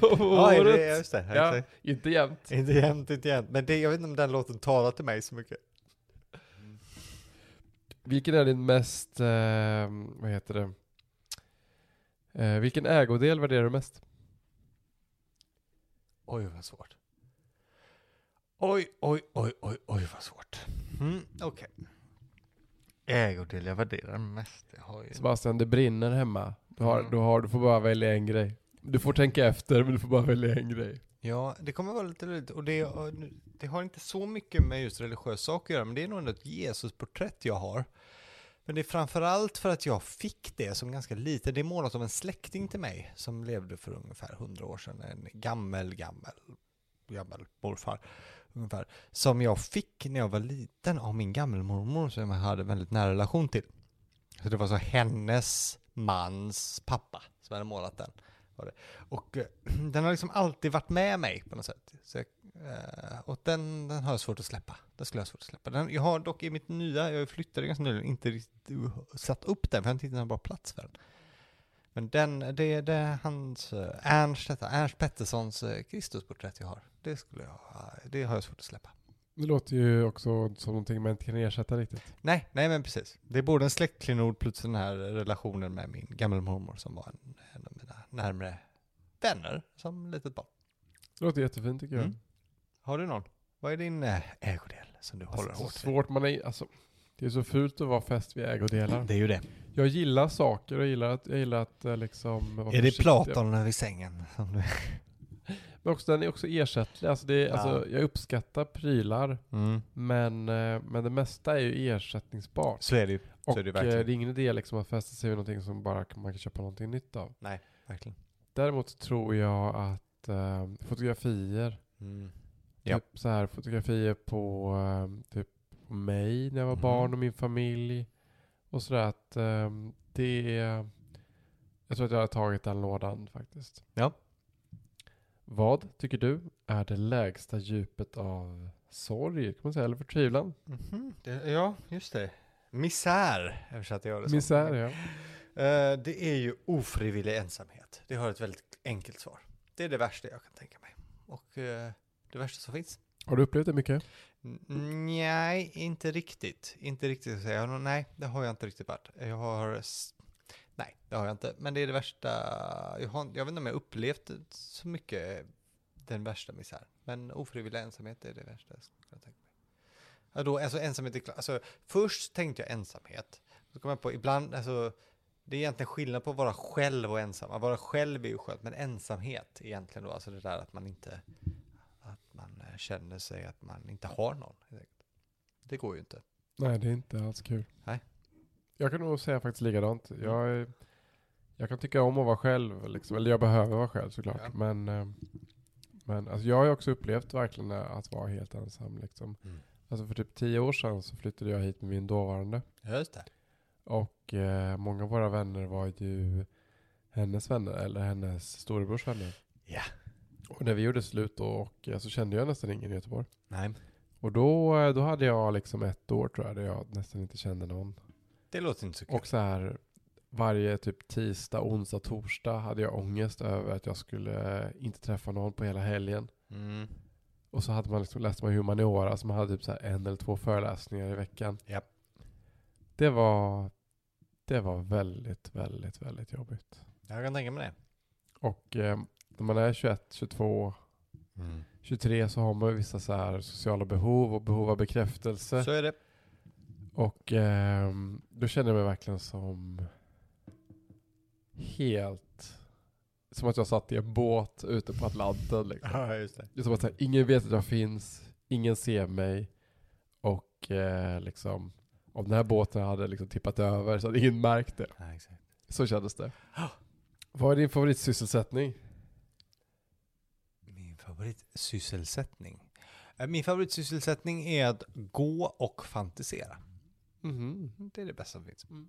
om Ja, är året. det, ja, just det. Ja, Exakt. inte jämt. Inte jämnt, inte jämnt. Men det, jag vet inte om den låten talar till mig så mycket. Vilken är din mest, eh, vad heter det? Eh, vilken ägodel värderar du mest? Oj, vad svårt. Oj, oj, oj, oj, oj, vad svårt. Mm, Okej. Ägodel jag värderar mest. Jag har ju... Sebastian, det brinner hemma. Du, har, Mm. du, har, du får bara välja en grej. Du får tänka efter, men du får bara välja en grej. Ja, det kommer vara lite roligt. Och det, det har inte så mycket med just religiösa saker att göra, men det är nog ändå ett Jesusporträtt jag har. Men det är framförallt för att jag fick det som ganska liten. Det är målat av en släkting till mig som levde för ungefär 100 år sedan. En gammel, gammel, gammel morfar. Ungefär. Som jag fick när jag var liten av min gammelmormor som jag hade väldigt nära relation till. Så det var så hennes mans pappa som hade målat den. Var det. Och eh, den har liksom alltid varit med mig på något sätt. Så jag, eh, och den, den har jag svårt att släppa. Den skulle jag ha svårt att släppa. Den, jag har dock i mitt nya, jag flyttade ganska nyligen, inte riktigt uh, satt upp den för jag har inte hittat någon bra plats för den. Men den, det, det är hans, eh, Ernst, detta, Ernst Petterssons eh, Kristusporträtt jag har. Det skulle jag, det har jag svårt att släppa. Det låter ju också som någonting man inte kan ersätta riktigt. Nej, nej men precis. Det är både en släktklenod plus den här relationen med min gammelmormor som var en, en av mina närmre vänner som litet barn. Det låter jättefint tycker jag. Mm. Har du någon? Vad är din eh, ägodel som du håller Alltså, så hårt vid? svårt man är, alltså, det är så fult att vara fäst vid ägodelar. Det är ju det. Jag gillar saker, jag gillar att, jag gillar att eh, liksom vara är det försiktig. Platon över sängen? Som du... Men också, den är också ersättlig. Alltså det är, Ja. alltså, jag uppskattar prylar, mm. men, eh, men det mesta är ju ersättningsbart. Så är det ju. Och är det eh, det verkligen. är ingen idé liksom att fästa sig vid någonting som bara kan- man kan köpa någonting nytt av. Verkligen. Däremot tror jag att eh, fotografier, Mm. Ja. typ så här fotografier på eh, typ på mig när jag var Mhm. barn och min familj och sådär att eh, det är, jag tror att jag har tagit den lådan faktiskt. Ja. Vad tycker du är det lägsta djupet av sorg, kan man säga, eller förtvivlan? Mhm. Det, ja, just det. Misär översatte jag det som. Misär, ja. Eh, det är ju ofrivillig ensamhet. Det har ett väldigt enkelt svar. Det är det värsta jag kan tänka mig. Och eh, det värsta som finns. Har du upplevt det mycket? N- Nej, inte riktigt. Inte riktigt att säga. Jag har nog- Nej, det har jag inte riktigt varit. Jag har... s- Nej, det har jag inte. Men det är det värsta... Jag, har, jag vet inte om jag upplevt det så mycket den värsta misär. Men ofrivillig ensamhet är det värsta jag skulle kunna tänka mig. Ja, då, alltså ensamhet är klart. Alltså, först tänkte jag ensamhet. Så kom jag på ibland, alltså... Det är egentligen skillnad på att vara själv och ensam. Att vara själv är ju skönt, men ensamhet egentligen då, alltså det där att man inte att man eh, känner sig att man inte har någon. helt enkelt. Det går ju inte. Nej, det är inte alls kul. Nej. Mm. Jag kan nog säga faktiskt likadant. Jag, är- jag kan tycka om att vara själv, liksom. eller jag behöver vara själv såklart. Ja. Men, eh, men alltså, jag har ju också upplevt verkligen att vara helt ensam. Liksom. Mm. Alltså för typ tio år sedan så flyttade jag hit med min dåvarande. Just det. Och eh, många av våra vänner var ju hennes vänner, eller hennes storebrors vänner. Ja. Och när vi gjorde slut då, och, eh, så kände jag nästan ingen i Göteborg. Nej. Och då, eh, då hade jag liksom ett år tror jag, där jag nästan inte kände någon. Det låter inte så kul. Och så här varje typ tisdag, onsdag, torsdag hade jag ångest över att jag skulle eh, inte träffa någon på hela helgen. Mm. Och så hade man liksom, läste man humaniora, så man hade typ så här en eller två föreläsningar i veckan. Japp. Det var, det var väldigt, väldigt, väldigt jobbigt. Jag kan tänka mig det. Och eh, när man är 21, 22, Mm. 23 så har man ju vissa så här sociala behov och behov av bekräftelse. Så är det. Och ehm, då känner jag mig verkligen som helt... Som att jag satt i en båt ute på Atlanten. Liksom. Ja, just det. Det är som att så här, ingen vet att jag finns, ingen ser mig och eh, liksom om den här båten hade liksom tippat över så hade ingen märkt det. Ja, exakt. Så kändes det. Vad är din favoritsysselsättning? Min favoritsysselsättning. Eh, Min favoritsysselsättning är att gå och fantisera. Mhm. Det är det bästa som finns. Mm.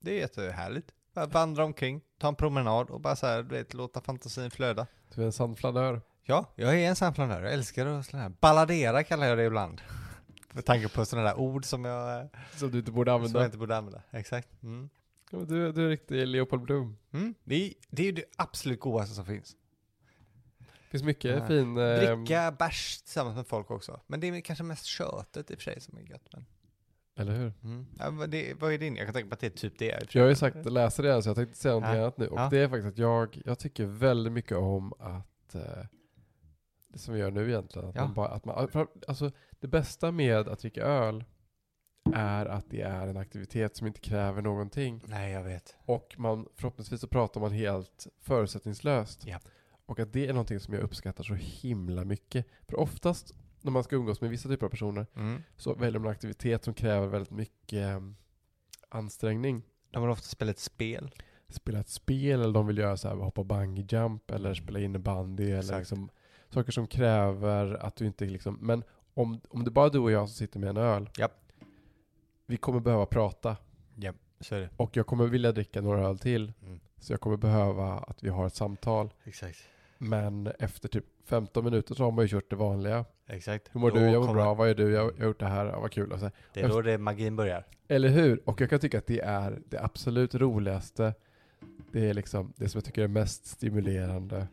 Det är jättehärligt. Bara vandra omkring, ta en promenad och bara så här, du vet, låta fantasin flöda. Du är en sandflanör. Ja, jag är en samplanör. Jag älskar att sån här. Balladera kallar jag det ibland. Med tanke på sådana där ord som jag, eh, Som du inte borde som jag använda. inte borde använda. Exakt. Mm. Ja, men Du, du är riktig Leopold Bloom. Mm. Det, är, det är ju det absolut godaste som finns. Det finns mycket Ja. fin... ehm, Dricka bärs tillsammans med folk också. Men det är kanske mest köttet i och för sig som är gött. Men, Eller hur? mm. ja, men det, vad är din? Jag kan tänka på att det är typ det. i och för sig. Jag har ju sagt läsa det här så jag tänkte säga någonting Ja. annat nu. Och Ja. det är faktiskt att jag, jag tycker väldigt mycket om att, eh, det som vi gör nu egentligen, att Ja. man bara, att man, alltså det bästa med att dricka öl är att det är en aktivitet som inte kräver någonting. Nej, jag vet. Och man, förhoppningsvis så pratar man helt förutsättningslöst. Ja. Och att det är någonting som jag uppskattar så himla mycket. För oftast när man ska umgås med vissa typer av personer Mm. så väljer man en aktivitet som kräver väldigt mycket eh, ansträngning De har ofta spelat ett spel. spela ett spel eller de vill göra så här, hoppa bungee jump eller spela innebandy eller Mm. Exakt. liksom, saker som kräver att du inte liksom, men om, om det bara är du och jag som sitter med en öl, Japp. vi kommer behöva prata Ja, så är det. och jag kommer vilja dricka några öl till, Mm. så jag kommer behöva att vi har ett samtal. Exakt. Men efter typ 15 minuter så har man ju kört det vanliga. Exakt. Hur mår Då du? Jag mår kommer- bra. Vad gör du? Jag jag har gjort det här. Ja, vad kul. Alltså, Och så här. Det är då det magin börjar. Eller hur? Och jag kan tycka att det är det absolut roligaste. Det är liksom det som jag tycker är mest stimulerande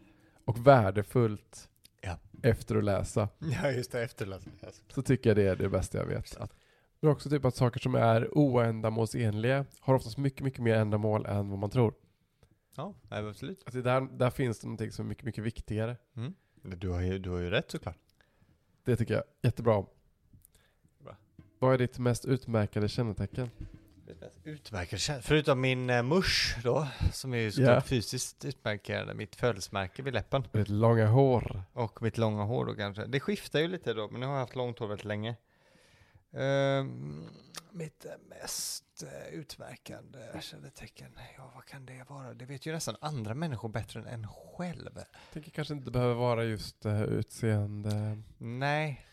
och värdefullt Ja. efter att läsa. Ja, just det. Efterlösning. Så tycker jag det är det bästa jag vet. Men också typ att saker som är oändamålsenliga har oftast mycket, mycket mer ändamål än vad man tror. Ja, nej, men absolut. Att det där, där finns det någonting som är mycket, mycket viktigare. Du har, ju, du har ju rätt såklart. Det tycker jag jättebra om. Bra. Vad är ditt mest utmärkande kännetecken? Utmärkande känsla. Förutom min eh, musch då, som är ju såklart Ja. fysiskt utmärkande, mitt födelsemärke vid läppen. Ditt långa hår. Och mitt långa hår då kanske. Det skiftar ju lite då, men nu har jag haft långt hår väldigt länge. Ehm, mitt eh, mest eh, utmärkande kännetecken, ja vad kan det vara? Det vet ju nästan andra människor bättre än en själv. Tänker kanske inte behöver vara just eh, utseende. Nej.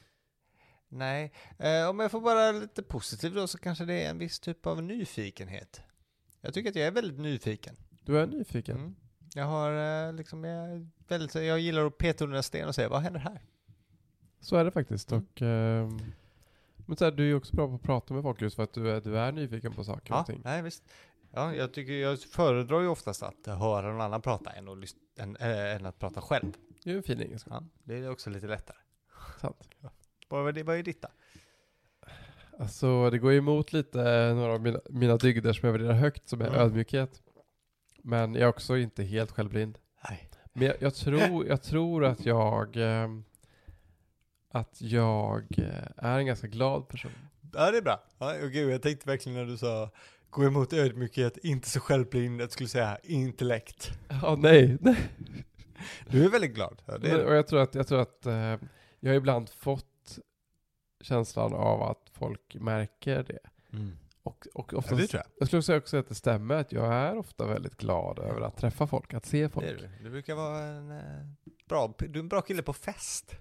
Nej. Eh, om jag får vara lite positiv då så kanske det är en viss typ av nyfikenhet. Jag tycker att jag är väldigt nyfiken. Du är nyfiken. Mm. Jag har eh, liksom, jag, är väldigt, jag gillar att peta under en sten och säga vad händer här? Så är det faktiskt. Mm. Och, ehm, men så här, du är ju också bra på att prata med folk just för att du är, du är nyfiken på saker Ja, och ting. nej visst. Ja, jag, tycker, jag föredrar ju oftast att höra någon annan prata än att, lyssna, än, eh, än att prata själv. Det är ju en fin egenskap. Ja, det är också lite lättare. Sant. Vad var det- vad är ditt då? Alltså det går ju emot lite eh, några av mina, mina dygder som jag värderar högt som är Mm. ödmjukhet. Men jag är också inte helt självblind. Nej. Men jag, jag, tror, jag tror att jag ehm, att jag eh, är en ganska glad person. Ja, det är bra. Ja, och gud, jag tänkte verkligen när du sa gå emot ödmjukhet, inte så självblind, att skulle säga intellekt. Ja, nej. nej. Du är väldigt glad. Ja, det är Men, och jag tror att, jag, tror att eh, jag har ibland fått känslan av att folk märker det. Och, och Mm. Ja, oftast det tror jag. Jag skulle säga också att det stämmer att jag är ofta väldigt glad över att träffa folk, att se folk. Det är du. du brukar vara en eh, bra, du är en bra kille på fest.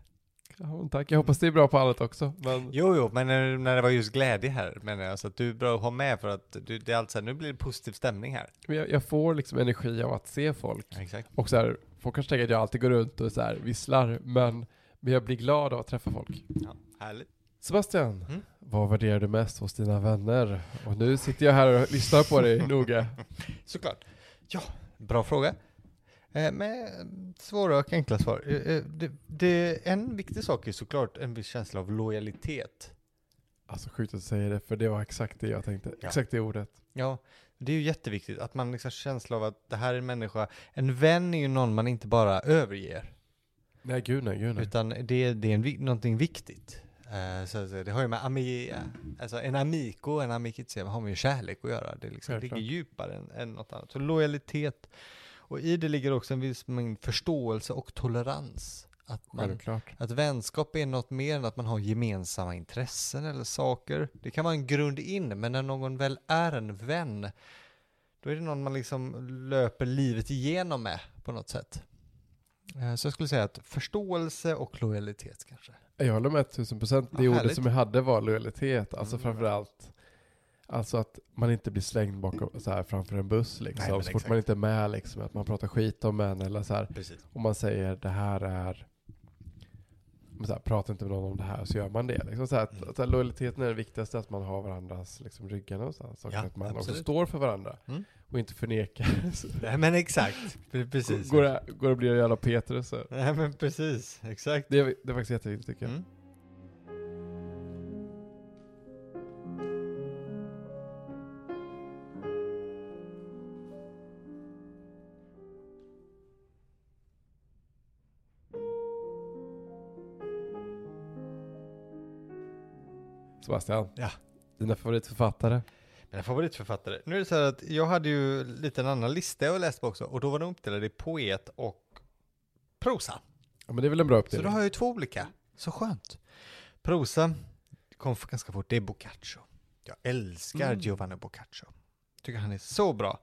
Ja, men tack, jag hoppas det är bra på allt också. Men Jo, jo, men när, när det var just glädje här menar jag, så att du är bra att ha med för att du, det är alltså, nu blir det positiv stämning här. men jag, jag får liksom energi av att se folk. exakt. Och så här, folk kanske tänker att jag alltid går runt och så här visslar, men, men jag blir glad av att träffa folk. Ja, härligt. Sebastian, Mm. vad värderar du mest hos dina vänner? Och nu sitter jag här och lyssnar på dig noga. Såklart. Ja, bra fråga. Eh, Med svåra och enkla svar. Eh, eh, Det, det, en viktig sak är såklart en viss känsla av lojalitet. Alltså sjukt att du säger det, för det var exakt det jag tänkte. Ja. Exakt det ordet. Ja, det är ju jätteviktigt att man liksom har känsla av att det här är en människa. En vän är ju någon man inte bara överger, Nej, gud nej, gud nej. utan det, det är en, vi- någonting viktigt. Eh, så att säga, det har ju med ami, alltså en amico och en amikitse har med kärlek att göra. Det liksom Självklart. ligger djupare än, än något annat. Så lojalitet, och i det ligger också en viss mängd förståelse och tolerans. Att man Självklart. Att vänskap är något mer än att man har gemensamma intressen eller saker. Det kan vara en grund in, men när någon väl är en vän, då är det någon man liksom löper livet igenom med på något sätt. Eh, Så jag skulle säga att förståelse och lojalitet kanske. Jag håller med tusen procent. Det Ja, ordet härligt. som jag hade var lojalitet. Alltså Mm. framförallt, alltså att man inte blir slängd bakom, så här, framför en buss liksom. Nej, men så fort exakt. man inte är med liksom, att man pratar skit om en eller så här. Precis. Om man säger det här är, men så här, prata inte med någon om det här, så gör man det. Liksom, så här, att, Mm. att, så här, lojaliteten är det viktigaste, att man har varandras liksom, ryggar någonstans. Och Ja, att man också absolut. står för varandra. Mm. Och inte förnekar. Så- Nej men exakt, Pre- precis. Går det, går det att bli en jävla Petrus? så? Nej men precis, exakt. Det, är- det är faktiskt jätteviktigt tycker jag. Mm. Sebastian. Ja. Dina favoritförfattare. Mina favoritförfattare. Nu är det så här att jag hade ju lite en annan lista jag läste på också och då var de uppdelade i poet och prosa. Ja men det är väl en bra Så då uppdelning? har jag ju två olika. Så skönt. Prosa kom för ganska fort. Det är Boccaccio. Jag älskar Mm. Giovanni Boccaccio. Tycker han är så bra.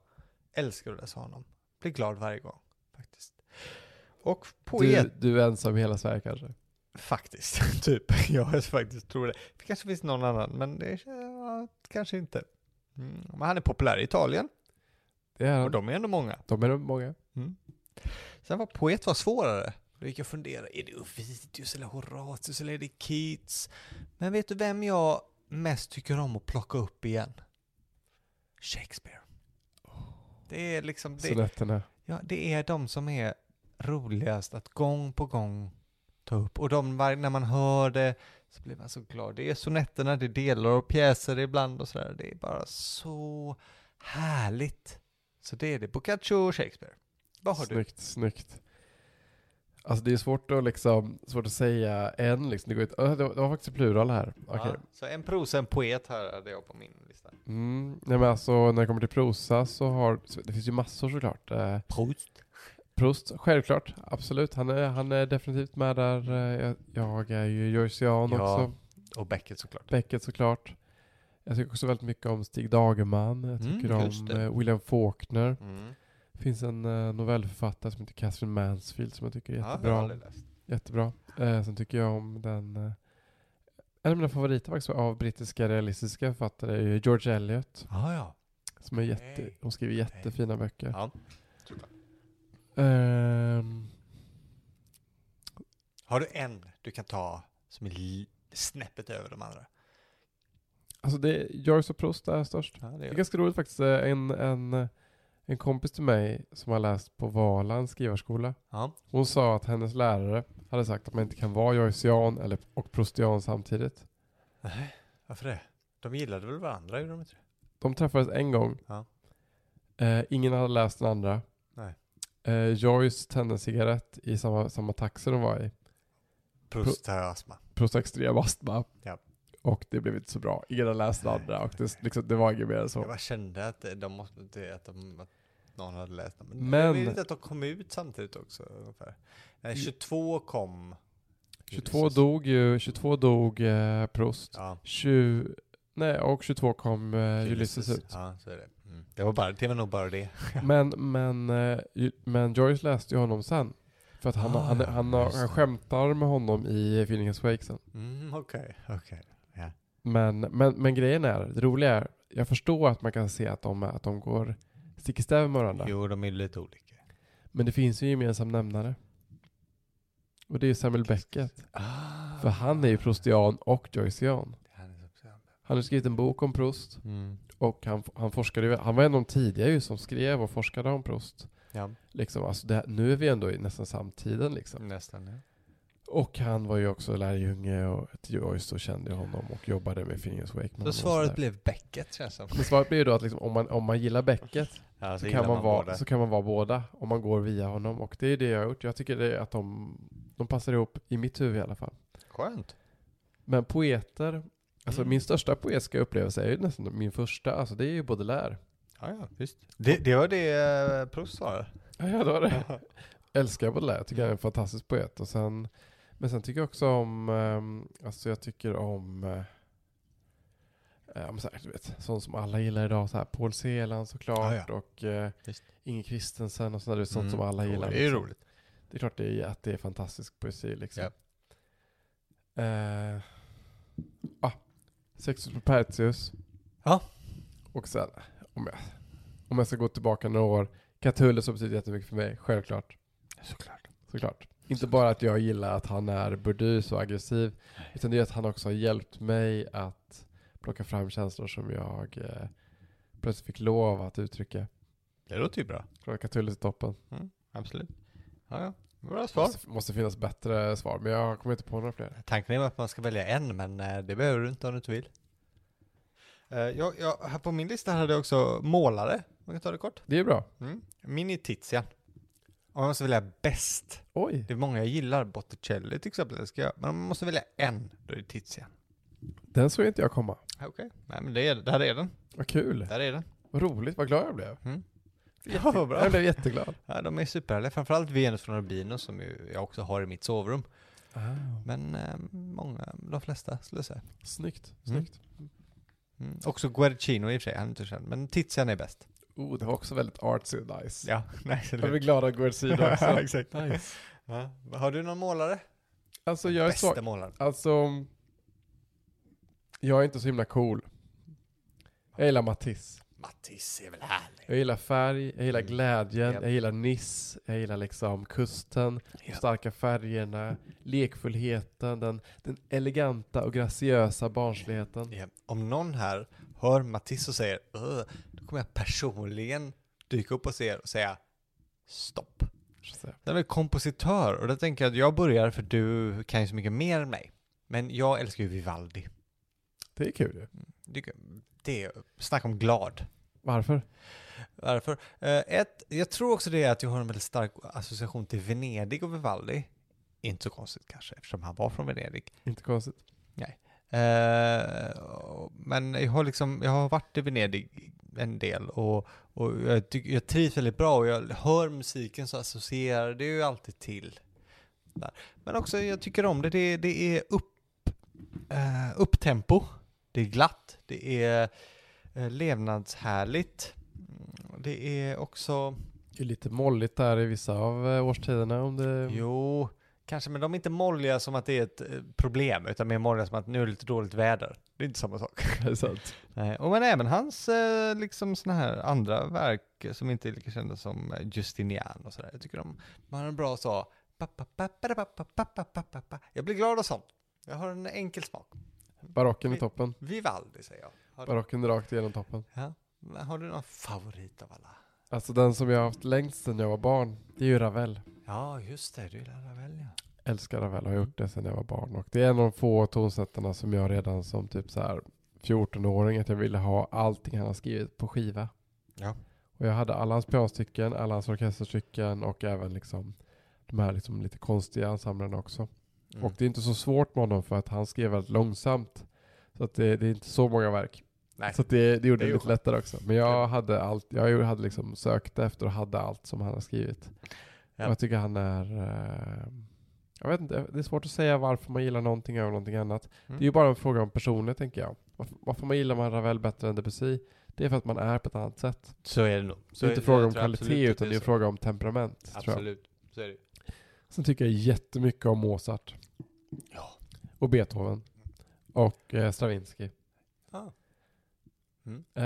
Älskar att läsa honom. Blir glad varje gång faktiskt. Och poet Du, du är ensam i hela Sverige kanske? faktiskt. typ. Jag faktiskt tror det. Det kanske finns någon annan men det är, ja, kanske inte. Mm. Men han är populär i Italien Det är och han. de är ändå många. De är nog många. Sen var poet var svårare. Då gick jag och funderade, är det Ovidius eller Horatius eller är det Keats? Men vet du vem jag mest tycker om att plocka upp igen? Shakespeare. Det är liksom, det, Sonetterna. ja, det är de som är roligast att gång på gång ta upp. Och de, var- när man hör det så blir man så glad. Det är sonetterna, det är delar och pjäser ibland och sådär. Det är bara så härligt. Så det är det. Boccaccio och Shakespeare. Vad har du? Snyggt, snyggt. Alltså det är svårt att liksom, svårt att säga en liksom. Det, går inte, Äh, det var det var faktiskt plural här. Okej. Ja, så en prosa, en poet här hade jag på min lista. Mm. Nej men alltså när det kommer till prosa så har, det finns ju massor såklart. Eh, Proust. Proust, självklart. Absolut. Han är, han är definitivt med där. Eh, Jag, jag är ju Joycean Ja. också. Och Beckett såklart. Beckett såklart. Jag tycker också väldigt mycket om Stig Dagerman. Jag Mm, tycker just om det. eh, William Faulkner. Mm. Det finns en eh, novellförfattare som heter Catherine Mansfield som jag tycker är Ja, jättebra. jag har om. aldrig läst. Jättebra. Eh, sen tycker jag om den... Eh, en av mina favoriter faktiskt av brittiska realistiska författare är ju George Eliot. Ah, ja. Som är jätte, Okej. Hon skriver jättefina böcker. ja. Ehm, Har du en du kan ta som är li- snäppet över de andra? alltså det, Joyce och Proust är störst. Ja, det Det är ganska roligt faktiskt. Eh, En, en, en kompis till mig som har läst på Valand skrivarskola. Ja. Hon sa att hennes lärare hade sagt att man inte kan vara Joycean eller, och Proustian samtidigt. Nej, varför det? De gillade väl varandra, gjorde de inte det? De träffades en gång. Ja. Eh, ingen hade läst den andra. Nej. Eh, Joyce tände en cigarett i samma, samma taxi de var i. Proust har astma. Proust har extrem astma. Ja. Och det blev inte så bra. Ingen hade läst den andra och det, liksom, det var inget mer än Jag så. bara kände att de måste inte, att, de, att någon hade läst dem. Men, Men- jag vill inte att de kom ut samtidigt också ungefär. Nej, 22 kom. 22 dog ju, 22 dog eh, Proust. Ja. 20, nej, och 22 kom eh, Ulysses ut. Ja, så är det. Mm. Det, var bara, det var nog bara det. Men, men, eh, ju- men Joyce läste ju honom sen. För att han, Ah, han, ja, han, har- just han det. skämtar med honom i Finnegan's Wake sen. Mm, okej, okej. Men, men, men grejen är, det roliga är, jag förstår att man kan se att de, att de går stick i stäv med varandra. Jo, de är lite olika. Men det finns ju en gemensam nämnare. Och det är Samuel Beckett. Ah. För han är ju Proustian och Joycean. Han är så bestämd. Han har skrivit en bok om Proust Mm. och han, han forskade ju, han var en av de tidiga ju som skrev och forskade om Proust. Ja, Liksom, alltså det, nu är vi ändå i nästan samtiden liksom. Mm, nästan. Ja. Och han var ju också lärjunge och till Joyce och kände honom och jobbade med Fingers Wake. med honom Då och svaret sådär. blev bäcket känns som. Men svaret blir ju då att liksom, om, man, om man gillar bäcket Ja, så kan, man vara, så kan man vara båda om man går via honom. Och det är det jag har gjort. Jag tycker det är att de, de passar ihop i mitt huvud i alla fall. Skönt. Men poeter, alltså Mm. min största poetiska upplevelse är ju nästan min första, alltså det är ju Baudelaire. Ja, ja, visst. Det, det var det eh, Proust svarade. Ja, ja, det var det. Älskar Baudelaire, jag tycker han är en fantastisk poet. Och sen, men sen tycker jag också om, ehm, alltså jag tycker om, eh, ja, men så här, du vet, sånt som alla gillar idag, så här Paul Celan såklart Ja, ja. och eh, Visst. Inge Christensen och sånt, där, du vet, sånt Mm. som alla gillar. Det är ju liksom. roligt. Det är klart det är, att det är fantastisk poesi liksom. Ja. Eh, ah, Sexus på Pertius. Ja. Och sen, om jag, om jag ska gå tillbaka några år, Catullus har betytt jättemycket för mig, självklart. Såklart. Såklart. Inte bara att jag gillar att han är burdus och aggressiv, Nej. utan det är att han också har hjälpt mig att plocka fram känslor som jag eh, plötsligt fick lov att uttrycka. Det låter ju bra. Klart Catullus är toppen. Absolut. Ja, ja. Bra svar. Måste, måste finnas bättre svar, men jag kommer inte på några fler. Tanken är att man ska välja en, men eh, det behöver du inte om du inte vill. Eh, Jag, jag, här på min lista hade jag också målare. Man kan ta det kort. Det är bra. Mm. Min är Tizian. Om jag måste välja bäst. Oj. Det är många jag gillar. Botticelli till exempel älskar jag. Men om man måste välja en, då är det Tizian. Den såg inte jag komma. Okej. Nej men det är, där är den. Vad kul. Där är den. Vad roligt. Vad glad jag blev. Mm. Jätte- Ja, vad bra. Jag blev jätteglad. Ja, de är superhärliga. Framförallt Venus från Urbino som ju jag också har i mitt sovrum. Men eh, många, de flesta skulle jag säga. Snyggt. Mm. Snyggt. Mm. Också Guercino i och för sig, han är inte så känd. Men Tizian är bäst. Oh, det var också väldigt artsy och nice. Ja, nice. Jag blir glad att gå åt sidan också. Exakt. Nice. Ja. Har du någon målare? Alltså jag är Bästa så... målaren. Alltså... Jag är inte så himla cool. Jag gillar Matisse. Matisse är väl härlig? Jag gillar färg, jag gillar Mm. glädjen, Japp. jag gillar Nice, jag gillar liksom kusten, de starka färgerna, lekfullheten, den, den eleganta och graciösa barnsligheten. Ja. Om någon här hör Matisse och säger "Ugh", då kommer jag personligen dyka upp och se er och säga stopp. Så. Den är kompositör och då tänker jag att jag börjar för du kan ju så mycket mer än mig. Men jag älskar ju Vivaldi. Det är kul ju. Det, det snacka om glad. Varför? Varför? Eh, ett, jag tror också det är att jag har en väldigt stark association till Venedig och Vivaldi. Inte så konstigt kanske, eftersom han var från Venedig. Inte konstigt. Eh, och- men jag har, liksom, jag har varit i Venedig en del och, och jag, tycker- jag trivs väldigt bra och jag hör musiken så associerar det ju alltid till. Där. Men också jag tycker om det, det, det är upp, eh, upptempo, det är glatt, det är eh, levnadshärligt, Mm, det är också, Det är lite molligt där i vissa av eh, årstiderna om det... jo, kanske men de är inte molliga som att det är ett eh, problem utan mer molliga som att nu är det lite dåligt väder. Det är inte samma sak. det är sant. Nej, och men även hans eh, liksom såna här andra verk som inte är lika kända som eh, Justinian och sådär. Jag tycker de, de har en bra så... pa, pa, pa, pa, pa, pa, pa, pa, pa, pa, pa. Jag blir glad av sånt. Jag har en enkel smak. Barocken i toppen. Vivaldi säger jag. Har du, Barocken rakt igenom toppen. ja, Men har du någon favorit av alla? Alltså den som jag har haft längst sedan jag var barn, det är ju Ravel. Ja, just det. Du gillar Ravel ja. Älskar Ravel, har gjort det sedan jag var barn. Och det är en av de få tonsättarna som jag redan som typ så här 14-åring, att jag ville ha allting han har skrivit på skiva. Ja. Och jag hade alla hans pianostycken, alla hans orkesterstycken och även liksom de här liksom lite konstiga ensemblerna också. Mm. Och det är inte så svårt med honom för att han skrev väldigt långsamt. Så att det, det är inte så många verk. Nej. Så att det, det gjorde Det är det, ju lite skönt. lättare också. Men jag hade allt, jag gjorde- hade liksom sökt efter och hade allt som han har skrivit. Ja. Och jag tycker han är... eh, jag vet inte, det är svårt att säga varför man gillar någonting över någonting annat. Mm. Det är ju bara en fråga om personer tänker jag. Varför, varför man gillar man Ravel bättre än Debussy, det är för att man är på ett annat sätt. Så är det nog. det är inte fråga om kvalitet utan det är fråga om temperament. Tror jag. Absolut. Så är det. Sen tycker jag jättemycket om Mozart. Ja. Och Beethoven. Och eh, Stravinsky. Ja. Mm. Eh,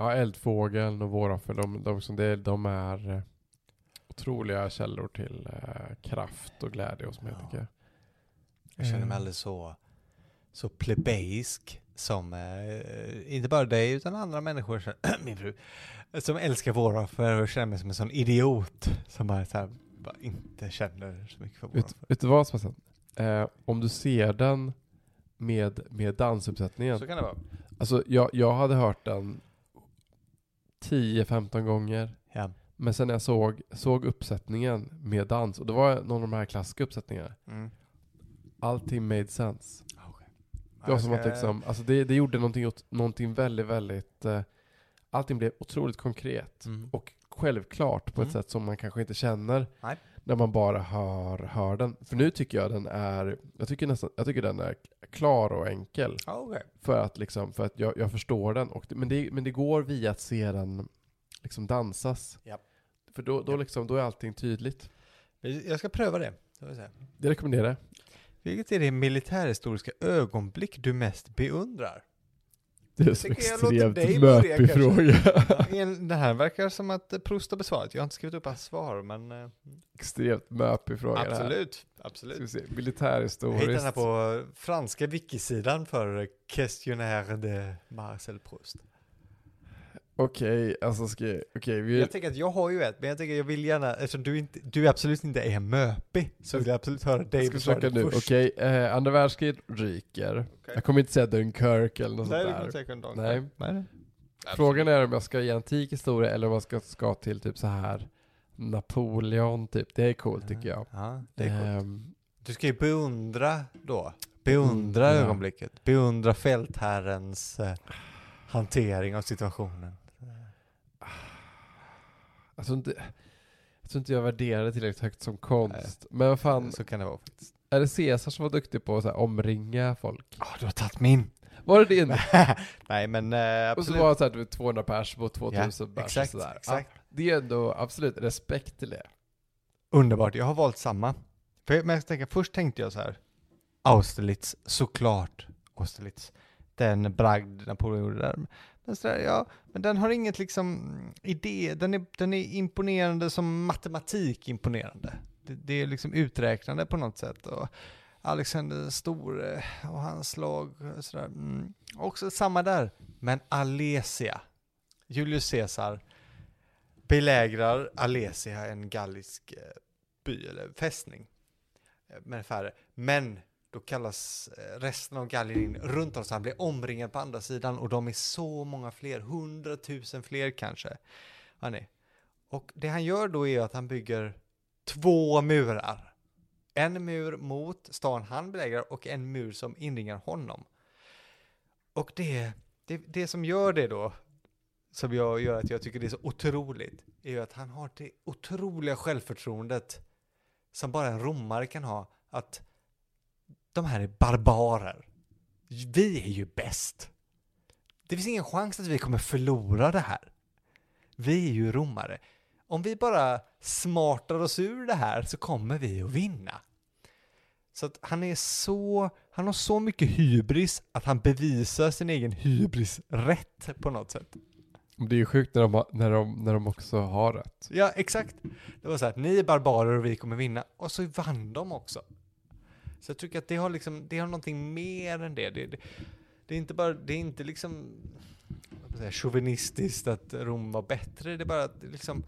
ja, Eldfågeln och Våroffer, de, de, som det, de är eh, otroliga källor till eh, kraft och glädje hos mig Ja. tycker jag. Jag känner Eh, mig alldeles så, så plebeisk som, eh, inte bara dig utan andra människor, som- min fru, som älskar våroffer och känner mig som en sån idiot som bara, så här, bara inte känner så mycket för Vet, våroffer. vet du vad Sebastian? eh, om du ser den med, med dansuppsättningen. Så kan det vara. Alltså jag, jag hade hört den 10-15 gånger. Ja. Men sen när jag såg, såg uppsättningen med dans, och det var någon av de här klassiska uppsättningarna, Mm. allting made sense. Det var Jag som att ska- liksom, alltså det, det gjorde någonting, åt- någonting väldigt, väldigt, eh, allting blev otroligt konkret Mm. och självklart på ett Mm. sätt som man kanske inte känner Nej. när man bara hör, hör den. För nu tycker jag den är, jag tycker nästan, jag tycker den är klar och enkel Ja, okej. för att liksom, för att jag, jag förstår den. Och det, men, det, men det går via att se den liksom dansas. Japp. För då, då Japp. liksom, då är allting tydligt. Jag ska pröva det. Ska vi se. Det rekommenderar jag. Vilket är det militärhistoriska ögonblick du mest beundrar? Det är en tycker jag låter dig börja kanske. Ja, en- Det här verkar som att eh, Proust har besvarat. Jag har inte skrivit upp hans svar, men eh, Extremt möpig fråga det här. absolut. Ska vi absolut. se, Jag hittade den här militärhistoriskt. på eh, franska wikisidan för eh, Questionnaire de Marcel Proust. Okej, alltså ska jag, okej, vi... Jag tänker att jag har ju ett, men jag tänker jag vill gärna, eftersom du, inte, du absolut inte är möpig, så vill jag absolut höra dig jag ska försöka nu. först. Okej, eh, andra världskriget ryker. Jag kommer inte säga Dunkirk eller något Nej, det sånt kommer där. inte säkert någon. Nej. Nej. nej. Frågan är om jag ska i antik historia eller om jag ska, ska till typ så här Napoleon typ. Det är coolt tycker jag. Ja, det är coolt. Ehm, Du ska ju beundra då. Beundra Beundra. ögonblicket. Beundra fältherrens eh, hantering av situationen. jag, tror inte, jag tror inte jag värderar det tillräckligt högt som konst. Men vad fan, Så kan det vara faktiskt. är det Caesar som var duktig på att så här omringa folk? Ah, du har tagit min! Var det det? Nej men eh, Och så absolut. var det så här, du vet, 200 pers mot 2000 pers exakt, och sådär. exakt. Ja, det är ändå absolut respekt till det. Underbart, jag har valt samma. För, jag- men jag tänker, först tänkte jag så här. Austerlitz, såklart Austerlitz. Den bragd Napoleon gjorde där. Men, så där, ja, men den har inget liksom idé, den är, den är imponerande som matematik imponerande. Det, det är liksom uträknande på något sätt. Och Alexander den store och hans slag och sådär. Mm. Också samma där. Men Alesia, Julius Caesar belägrar Alesia, en gallisk eh, by eller fästning. Eh, Men färre. Men då kallas eh, resten av Gallien in runt honom, så han blir omringad på andra sidan och de är så många fler, hundratusen fler kanske. Han är. Och det han gör då är att han bygger två murar. En mur mot stan han belägrar och en mur som inringar honom. Och det, det, det som gör det då, som jag gör att jag tycker det är så otroligt, är ju att han har det otroliga självförtroendet som bara en romare kan ha, att de här är barbarer. Vi är ju bäst. Det finns ingen chans att vi kommer förlora det här. Vi är ju romare. Om vi bara smartar oss ur det här så kommer vi att vinna. Så att han är så, han har så mycket hybris att han bevisar sin egen hybris rätt på något sätt. Det är ju sjukt när de, har- när de, när de också har rätt. Ja, exakt. Det var så här, ni är barbarer och vi kommer vinna. Och så vann de också. Så jag tycker att det har liksom, det har någonting mer än det. Det, det, det är inte bara, det är inte liksom vad ska man säga, chauvinistiskt att Rom var bättre. Det är bara att det liksom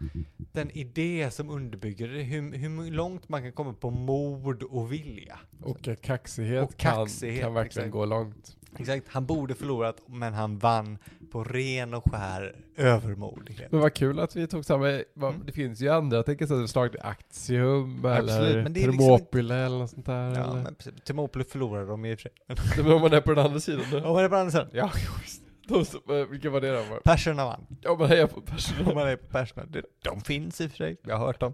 den idé som underbygger det, hur, hur långt man kan komma på mod och vilja. Och eh, kaxighet, Och kaxighet, kan, kan verkligen exakt. gå långt. Exakt, han borde förlorat men han vann på ren och skär övermodighet. Men vad kul att vi tog samma, vad, Mm. det finns ju andra, jag tänker så här, slag i Aktium eller Absolut, men det är liksom Thermopyle eller något sånt där. Ja, eller? men precis. Timopoli förlorade de i och för sig. Nej, men om man är på den andra sidan nu. Ja, men det är bara en sån- Ja, visst. De som, eh, vilka var det då? Perserna vann. Ja men heja på personal. Om man är på Persson. Det- De finns i och för sig, jag har hört dem.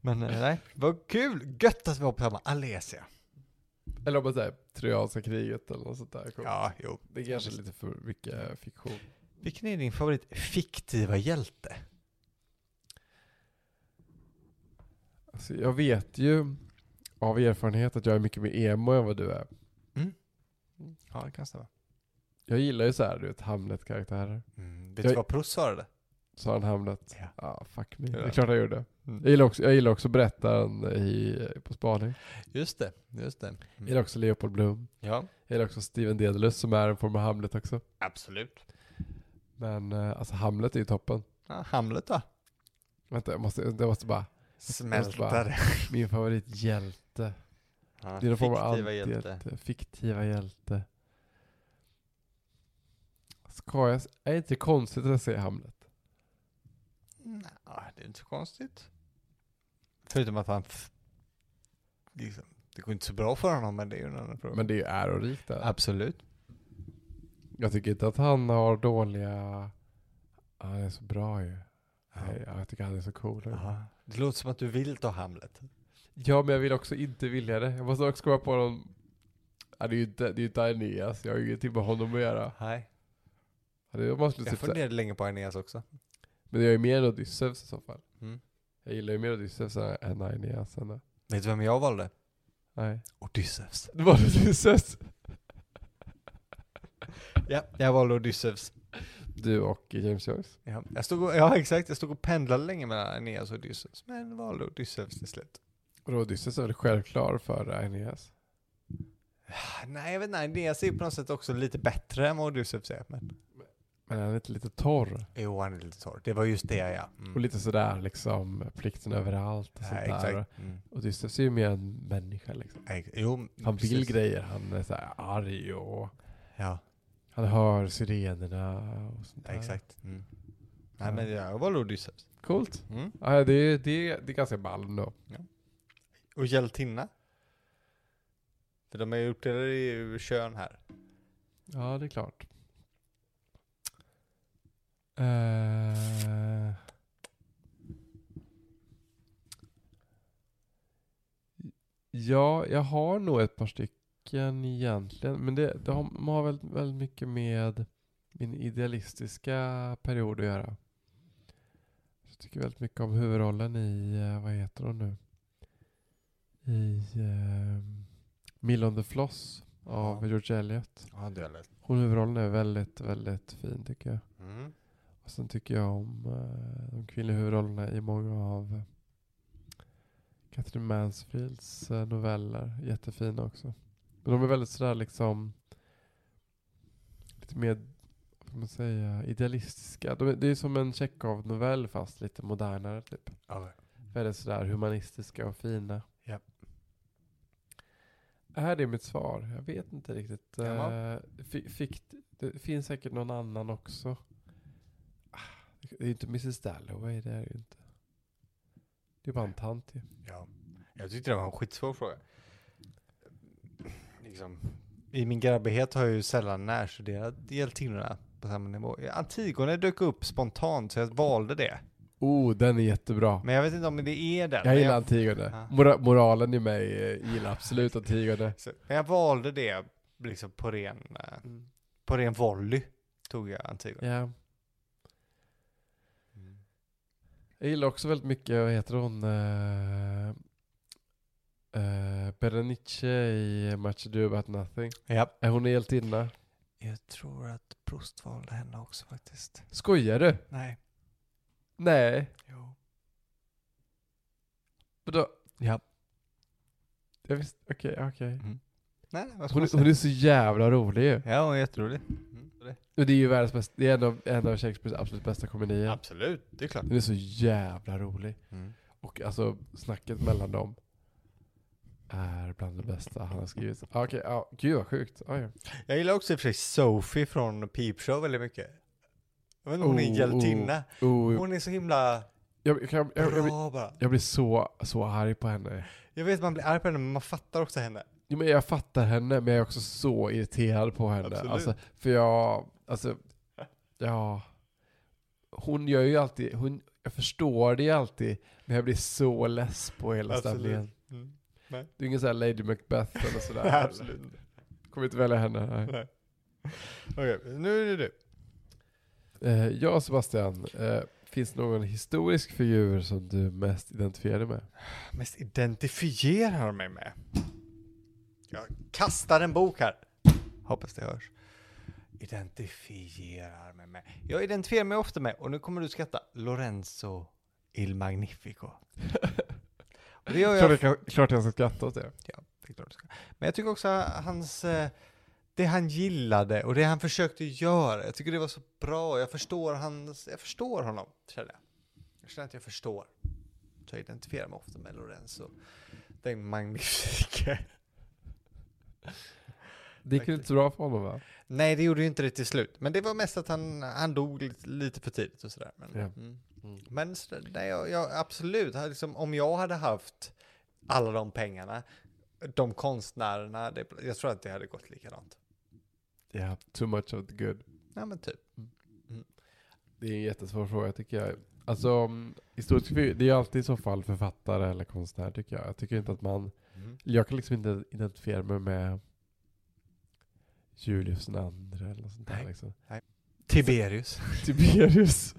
Men eh, nej, vad kul! Gött att vi var på samma. Alesia. Eller om man säger Trojanska kriget eller något sånt där. Cool. Ja, jo. Det är kanske är lite för mycket fiktion. Vilken är din favorit fiktiva hjälte? Alltså, jag vet ju av erfarenhet att jag är mycket mer emo än vad du är. Ja, det kan stämma. Jag gillar ju så här, du vet Hamlet-karaktärer. Mm, vet Jag- du vad Proust svarade? Sa han Hamlet? Ja. Ja, fuck me. Ja. Det är klart jag gjorde. Jag Mm. gillar också, jag gillar också berättaren i, på spaning. Just det, just det. Mm. Jag gillar också Leopold Bloom. Ja, Jag gillar också Steven Dedalus som är en form av Hamlet också. absolut. Men eh, alltså Hamlet är ju toppen. Ja, Hamlet då? Vänta, jag måste, jag måste bara. Smältare. Min favorithjälte. Han Det är någon form av fiktiva hjälte. antihjälte, Fiktiva hjälte. Ska jag? s- Är det inte konstigt att jag ser Hamlet? Nej, det är inte så konstigt. Förutom att han... f- Liksom, det går inte så bra för honom, men det är ju en annan fråga. Men det är ju ärorikt där. Absolut. Jag tycker inte att han har dåliga... Han är så bra ju. Ja. Nej, Jag tycker han är så cool. Aha. Det låter som att du vill ta Hamlet. Ja, men jag vill också inte vilja det. Jag måste också komma på någon... Ja, det är ju inte, det är ju inte Aeneas. Jag har ju ingenting med honom att göra. Nej. Ja, det- Jag måste Jag typ, så- funderade länge på Aeneas också. men jag är ju mer än Odysseus i så fall. Mm. Jag gillar ju mer Odysseus än- än Aeneas. Än, Vet du vem jag valde? nej. Odysseus. Det var Odysseus. Ja, jag valde Odysseus. Du och James Joyce. Ja, jag stod och, ja exakt. Jag stod och pendlade länge mellan Aeneas och Odysseus. Men valde Odysseus till slut. Och då Odysseus är väl självklar för Aeneas? Ah, Nej, jag vet inte. Aeneas är på något sätt också lite bättre än vad Odysseus är. Men... Men han är inte lite torr? Jo, han är lite torr. Det var just det, ja. Mm. Och lite sådär liksom plikten överallt och sånt Ja, där. exakt. Mm. Odysseus är ju mer en människa liksom. Nej, Jo, Han precis. vill grejer, han är så här arg och Ja, han hör sirenerna och sånt ja, där. exakt. Mm. Ja. Nej, men jag var Odysseus. Coolt. Mm. Ja, det, är- det, är- det är ganska ball då. Och hjältinna? För de är ju uppdelade i kön här. Ja, det är klart. Eh. Ja, jag har nog ett par stycken egentligen. Men det, det har, de har väldigt, väldigt mycket med min idealistiska period att göra. Jag tycker väldigt mycket om huvudrollen i, eh, vad heter hon nu? I eh, Mill on the Floss av Ja. George Eliot. Ja, du har läst. Hon huvudrollen är väldigt, väldigt fin tycker jag. Mm. Och sen tycker jag om eh, de kvinnliga huvudrollerna i många av Catherine Mansfields eh, noveller. Jättefina också. Men de är väldigt sådär liksom lite mer, vad ska man säga, idealistiska. De, är- det är som en Tjechov-novell fast lite modernare typ. Ja, Väldigt sådär humanistiska och fina. Japp. Här är mitt svar. Jag vet inte riktigt. Ja, va? Eh, fi- fick, det finns säkert någon annan också. Ah, Det är ju inte Mrs Dalloway, det är det ju inte. Det är bara en tant ju. ja. Jag tyckte det var en skitsvår fråga. Liksom. I min grabbighet har jag ju sällan närstuderat hjältinnorna på samma nivå. Antigone dök upp spontant så jag valde det. Oh, den är jättebra. Men jag vet inte om det är den. Jag men gillar Antigone. Ja. Mora, moralen i mig eh, gillar absolut Antigone. Så- Men jag valde det liksom på ren, eh, på ren volley tog jag Antigone. Ja. Mm. Jag gillar också väldigt mycket, vad heter hon? Uh, eh, Berenice i Much Ado About Nothing. Ja. Är hon hjältinna? Jag tror att Prost valde henne också faktiskt. Skojar du? Nej. Nej. Jo. Vadå? Ja. Jag visste, okej, okej. Nej, nej, vad ska Hon, man hon säga? är så jävla rolig ju. Ja, hon är jätterolig. Och det är ju världens bästa, det är en av, en av Shakespeares absolut bästa komedier. Absolut, det är klart. Den är så jävla rolig. Och alltså snacket mellan dem är bland det bästa han har skrivit. Ah, Okej, ja. gud vad sjukt. Ah, ja. Jag gillar också i och för sig Sophie från Peep Show väldigt mycket. Jag vet inte, hon är en Oh, hjältinna. oh, Hon är så himla jag, jag, jag, jag, jag, bra bara. jag blir så, så arg på henne. Jag vet att man blir arg på henne, men man fattar också henne. Jo, men jag fattar henne, men jag är också så irriterad på henne. Absolut. Alltså, för jag, alltså, ja. Hon gör ju alltid, hon, jag förstår det ju alltid, men jag blir så less på hela Absolut. stämningen. Mm. Du är ingen sån här Lady Macbeth eller sådär. Absolut. Kommer inte välja henne. Nej. Nej. Okej, nu är det du. Eh, ja, Sebastian. Eh, finns det någon historisk figur som du mest identifierar dig med? Mest identifierar mig med. Jag kastar en bok här. Hoppas det hörs. Identifierar mig med. Jag identifierar mig ofta med, och nu kommer du skratta, Lorenzo Il Magnifico. Och det gör Klart jag. jag, kan- klart jag ska skratta åt det. Ja, det är klart du ska. Men jag tycker också hans, eh, det han gillade och det han försökte göra. Jag tycker det var så bra. Jag förstår hans, jag förstår honom, känner jag. Jag känner att jag förstår. Så jag identifierar mig ofta med Lorenzo. Den magnifike. Det gick ju inte så bra för honom va? Nej, det gjorde ju inte det till slut. Men det var mest att han, han dog lite, lite för tidigt och sådär. Men, Ja. mm. men så, nej, jag, jag, absolut, här liksom, om jag hade haft alla de pengarna, de konstnärerna, det, jag tror att det hade gått likadant. Ja, too much of the good. Nej, men typ. Det är en jättesvår fråga tycker jag. Alltså, mm, historisk figur, det är ju alltid i så fall författare eller konstnär tycker jag. Jag tycker inte att man, Mm. jag kan liksom inte identifiera mig med Julius den andre eller något sånt där Nej. liksom. Tiberius. Tiberius.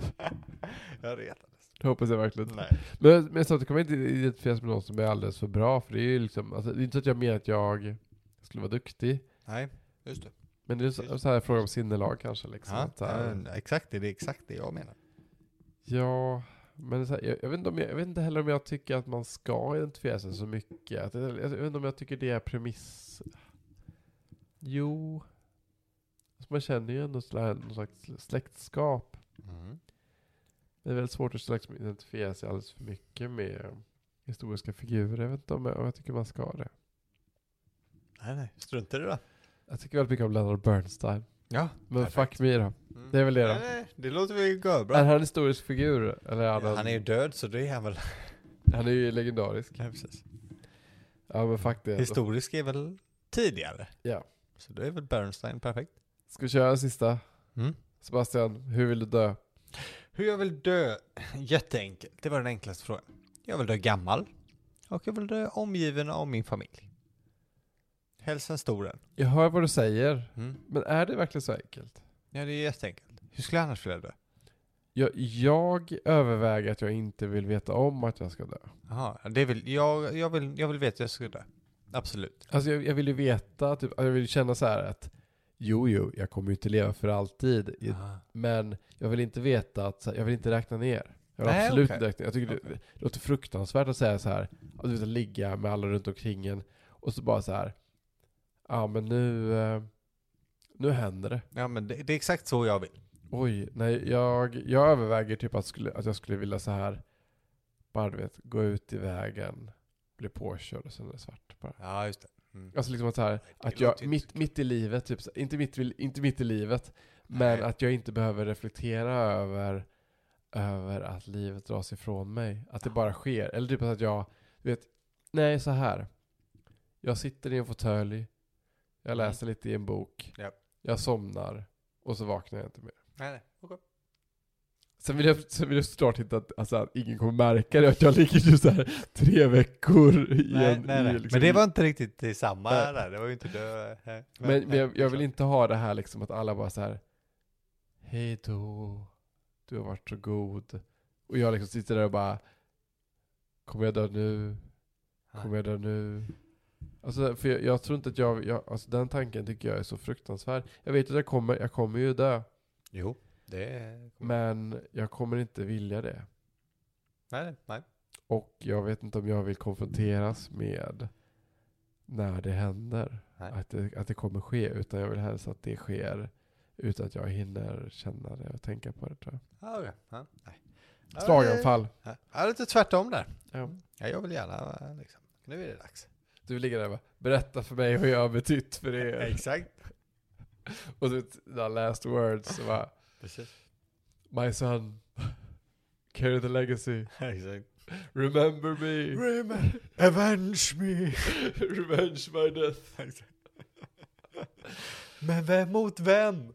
jag retades. Det hoppas jag verkligen. Nej. Men, men samtidigt kommer jag inte identifieras med någon som är alldeles för bra, för det är ju liksom, alltså, det är inte så att jag menar att jag skulle vara duktig, nej, just det. men det är så, så här fråga om sinnelag kanske liksom. Ja, att, så här, ja, eh, exakt, det det är exakt det jag menar. Ja, men det är så här, jag, jag, vet inte om jag, jag vet inte heller om jag tycker att man ska identifiera sig så mycket. Att, jag, jag vet inte om jag tycker det är premiss... Jo. Alltså, man känner ju ändå sådär, någon slags släktskap. Mm. Det är väldigt svårt att liksom identifiera sig alldeles för mycket med historiska figurer. Jag vet inte om jag, om jag tycker man ska det. Nej, nej, strunt i det då. Jag tycker väldigt mycket om Leonard Bernstein. Ja, Men perfekt. fuck me då. Mm. det är väl det då. Nej, nej, det låter väl görbra. Är han en historisk figur? Eller är han, en- Han är ju död, så det är han väl. han är ju legendarisk. Nej, precis. Ja men fuck det. Historisk är väl tidigare? Ja. Så då är väl Bernstein perfekt. Ska vi köra en sista? Mm. Sebastian, hur vill du dö? Hur jag vill dö? Jätteenkelt. Det var den enklaste frågan. Jag vill dö gammal. Och jag vill dö omgiven av min familj. Helst en stor en. Jag hör vad du säger, Mm. men är det verkligen så enkelt? Ja, det är jätteenkelt. Hur skulle jag annars vilja dö? Jag, jag överväger att jag inte vill veta om att jag ska dö. Jaha, det vill, jag, jag, vill, jag vill veta hur jag ska dö. Absolut. Alltså jag, jag vill ju veta, typ, jag vill känna så här att jo, jo, jag kommer ju inte leva för alltid. i- Aha. Men jag vill inte veta att, så här, jag vill inte räkna ner. Jag vill Nej, absolut okej. inte räkna ner. Jag tycker det, det låter fruktansvärt att säga så här, att du vet, ligga med alla runt omkring en och så bara så här, ja men nu, eh, nu händer det. Ja, men det, det är exakt så jag vill. Oj, nej, jag, jag överväger typ att, skulle, att jag skulle vilja så här bara du vet, gå ut i vägen, bli påkörd och sen är det svart bara. Ja, just det. Alltså liksom att så här, att jag, mitt, mitt i livet, typ, så- inte, mitt, i- inte mitt i livet, men Nej. att jag inte behöver reflektera över, över att livet dras ifrån mig. Att det bara sker. Eller typ att jag, du vet, nej så här. Jag sitter i en fåtölj, jag Mm. läser lite i en bok, Ja. jag somnar och så vaknar jag inte mer. Nej, nej. okej. Sen vill, jag, sen vill jag såklart inte att, alltså, att ingen kommer märka det, att jag ligger ju så här tre veckor i Nej, en... nej, nej. I, liksom, men det i- var inte riktigt det samma Nej. där. Det var ju inte dö. Nej, men, men nej, jag, jag vill klart. inte ha det här liksom att alla bara så här Hej då, du har varit så god. Och jag liksom sitter där och bara Kommer jag dö nu? Kommer jag dö nu? Alltså, för jag, jag tror inte att jag, jag, alltså den tanken tycker jag är så fruktansvärd. Jag vet att jag kommer, jag kommer ju Mm. dö. Jo, det är... Men jag kommer inte vilja det. Nej, nej, nej. Och jag vet inte om jag vill konfronteras med när det händer. Nej. Att det, att det kommer ske. Utan jag vill helst att det sker utan att jag hinner känna det och tänka på det tror jag. Ah, okej. Ja, nej. Ja, Slaganfall. det- Ja, ja, lite tvärtom där. Ja. Ja, jag vill gärna eh, liksom. Nu är det dags. Du ligger där och bara, berätta för mig vad jag har betytt för er. Exakt. och du, vet, the last words så bara, Precis. my son, carry the legacy, Exakt. remember me, Remember, avenge me. revenge my death. Men vem mot vem?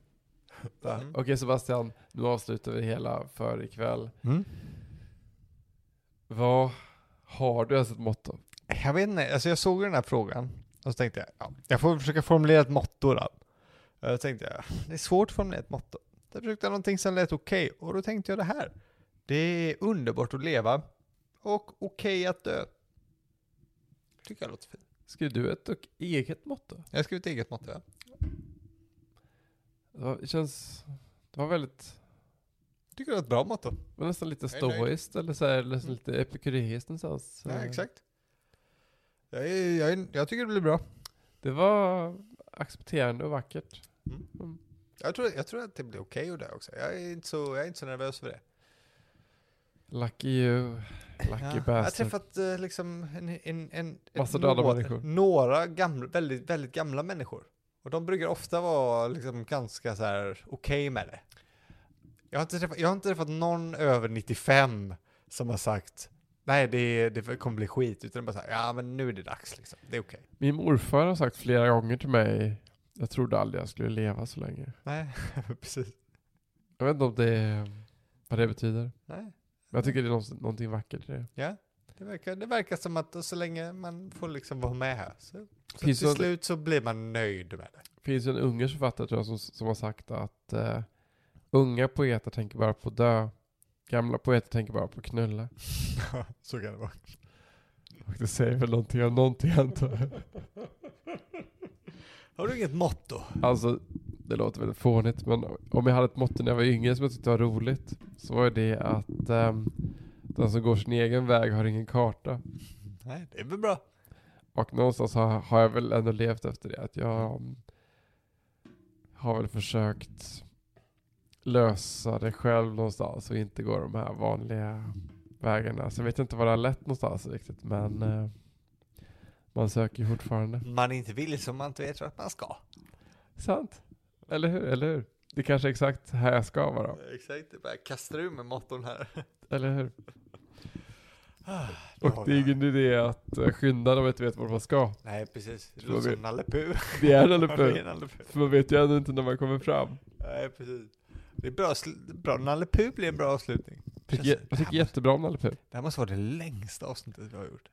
Mm. Okej Sebastian, nu avslutar vi hela för ikväll. Mm. Vad har du ens ett motto? Jag vet inte, alltså jag såg den här frågan och så tänkte jag, ja, jag får väl försöka formulera ett motto då. Och Då tänkte jag, det är svårt att formulera ett motto. Så jag försökte någonting som lät okej och då tänkte jag det här. Det är underbart att leva och okej att dö. Tycker jag låter fint. Skrev du ett och eget motto? Jag har skrivit eget motto, ja. Det, var, det känns... Det var väldigt... Tycker det är ett bra motto. Det var nästan lite Jag är nöjd. stoiskt eller så här, eller så lite epikureiskt någonstans. Ja, Eh, Mm. exakt. Jag, är- jag, är- jag tycker det blir bra. Det var accepterande och vackert. Jag tror, jag tror att det blir okej att dö också. Jag är inte så, jag är inte så nervös för det. Lucky you, lucky Ja, jag har bastard. träffat eh, liksom en, en, en, Massa ett döda några- människor. Några gamla, väldigt, väldigt gamla människor. Och de brukar ofta vara liksom ganska så här okej med det. Jag har, inte träffat, jag har inte träffat någon över 95 som har sagt nej det, det kommer bli skit, utan bara så här, ja men nu är det dags liksom, det är okej. Min morfar har sagt flera gånger till mig, jag trodde aldrig jag skulle leva så länge. Nej, precis. Jag vet inte om det, vad det betyder. Men Nej, jag tycker det är nå- någonting vackert i det. ja. Det verkar, det verkar som att så länge man får liksom vara med här så, så Finns till det- slut så blir man nöjd med det. Det finns ju en ungersk författare tror jag som, som har sagt att eh, unga poeter tänker bara på dö, gamla poeter tänker bara på knulla. så kan det vara. Och det säger väl någonting om någonting antar jag. Har du inget motto? Alltså, det låter väldigt fånigt, men om jag hade ett motto när jag var yngre som jag tyckte var roligt, så var det att ehm, den som går sin egen väg har ingen karta. Nej, det är väl bra. Och någonstans har, har jag väl ändå levt efter det, att jag mm, har väl försökt lösa det själv någonstans och inte gå de här vanliga vägarna. Så jag vet inte var det har lett någonstans riktigt, men eh, man söker ju fortfarande. Man är inte vill som man inte vet att man ska. Sant. Eller hur? Eller hur? Det kanske är exakt här jag ska vara. Exakt, det bara kastar ur med motton här. Eller hur? Ah, Och det är ingen idé att eh, skynda när man inte vet vart man ska. Nej, precis. Det Tror vi- låter som Nalle Puh. Det är en Ja, eller det är hur? en Nalle Puh. För man vet ju ändå inte när man kommer fram. Nej, precis. Det är bra, sl- bra. Nalle Puh blir en bra avslutning. Tycker, Känns- jag jag tycker jättebra om Nalle Puh. Det här måste vara det längsta avsnittet vi har gjort.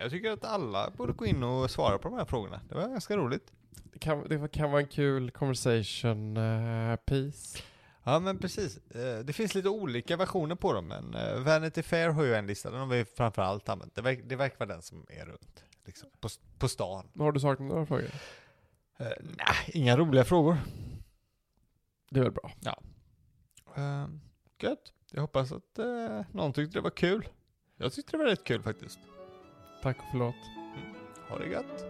Jag tycker att alla borde gå in och svara på de här frågorna. Det var ganska roligt. Det kan, det kan vara en kul conversation eh, piece. Ja, men precis. Eh, Det finns lite olika versioner på dem, men eh, Vanity Fair har ju en lista. Den har vi framförallt använt. Det, verk, det verkar vara den som är runt, liksom, på, s- på stan. Men Har du saknat några frågor? Eh, nej, inga roliga frågor. Det är väl bra. Uh, gött. Jag hoppas att eh, någon tyckte det var kul. Jag tyckte det var rätt kul faktiskt. Tack och förlåt. Ha det gött.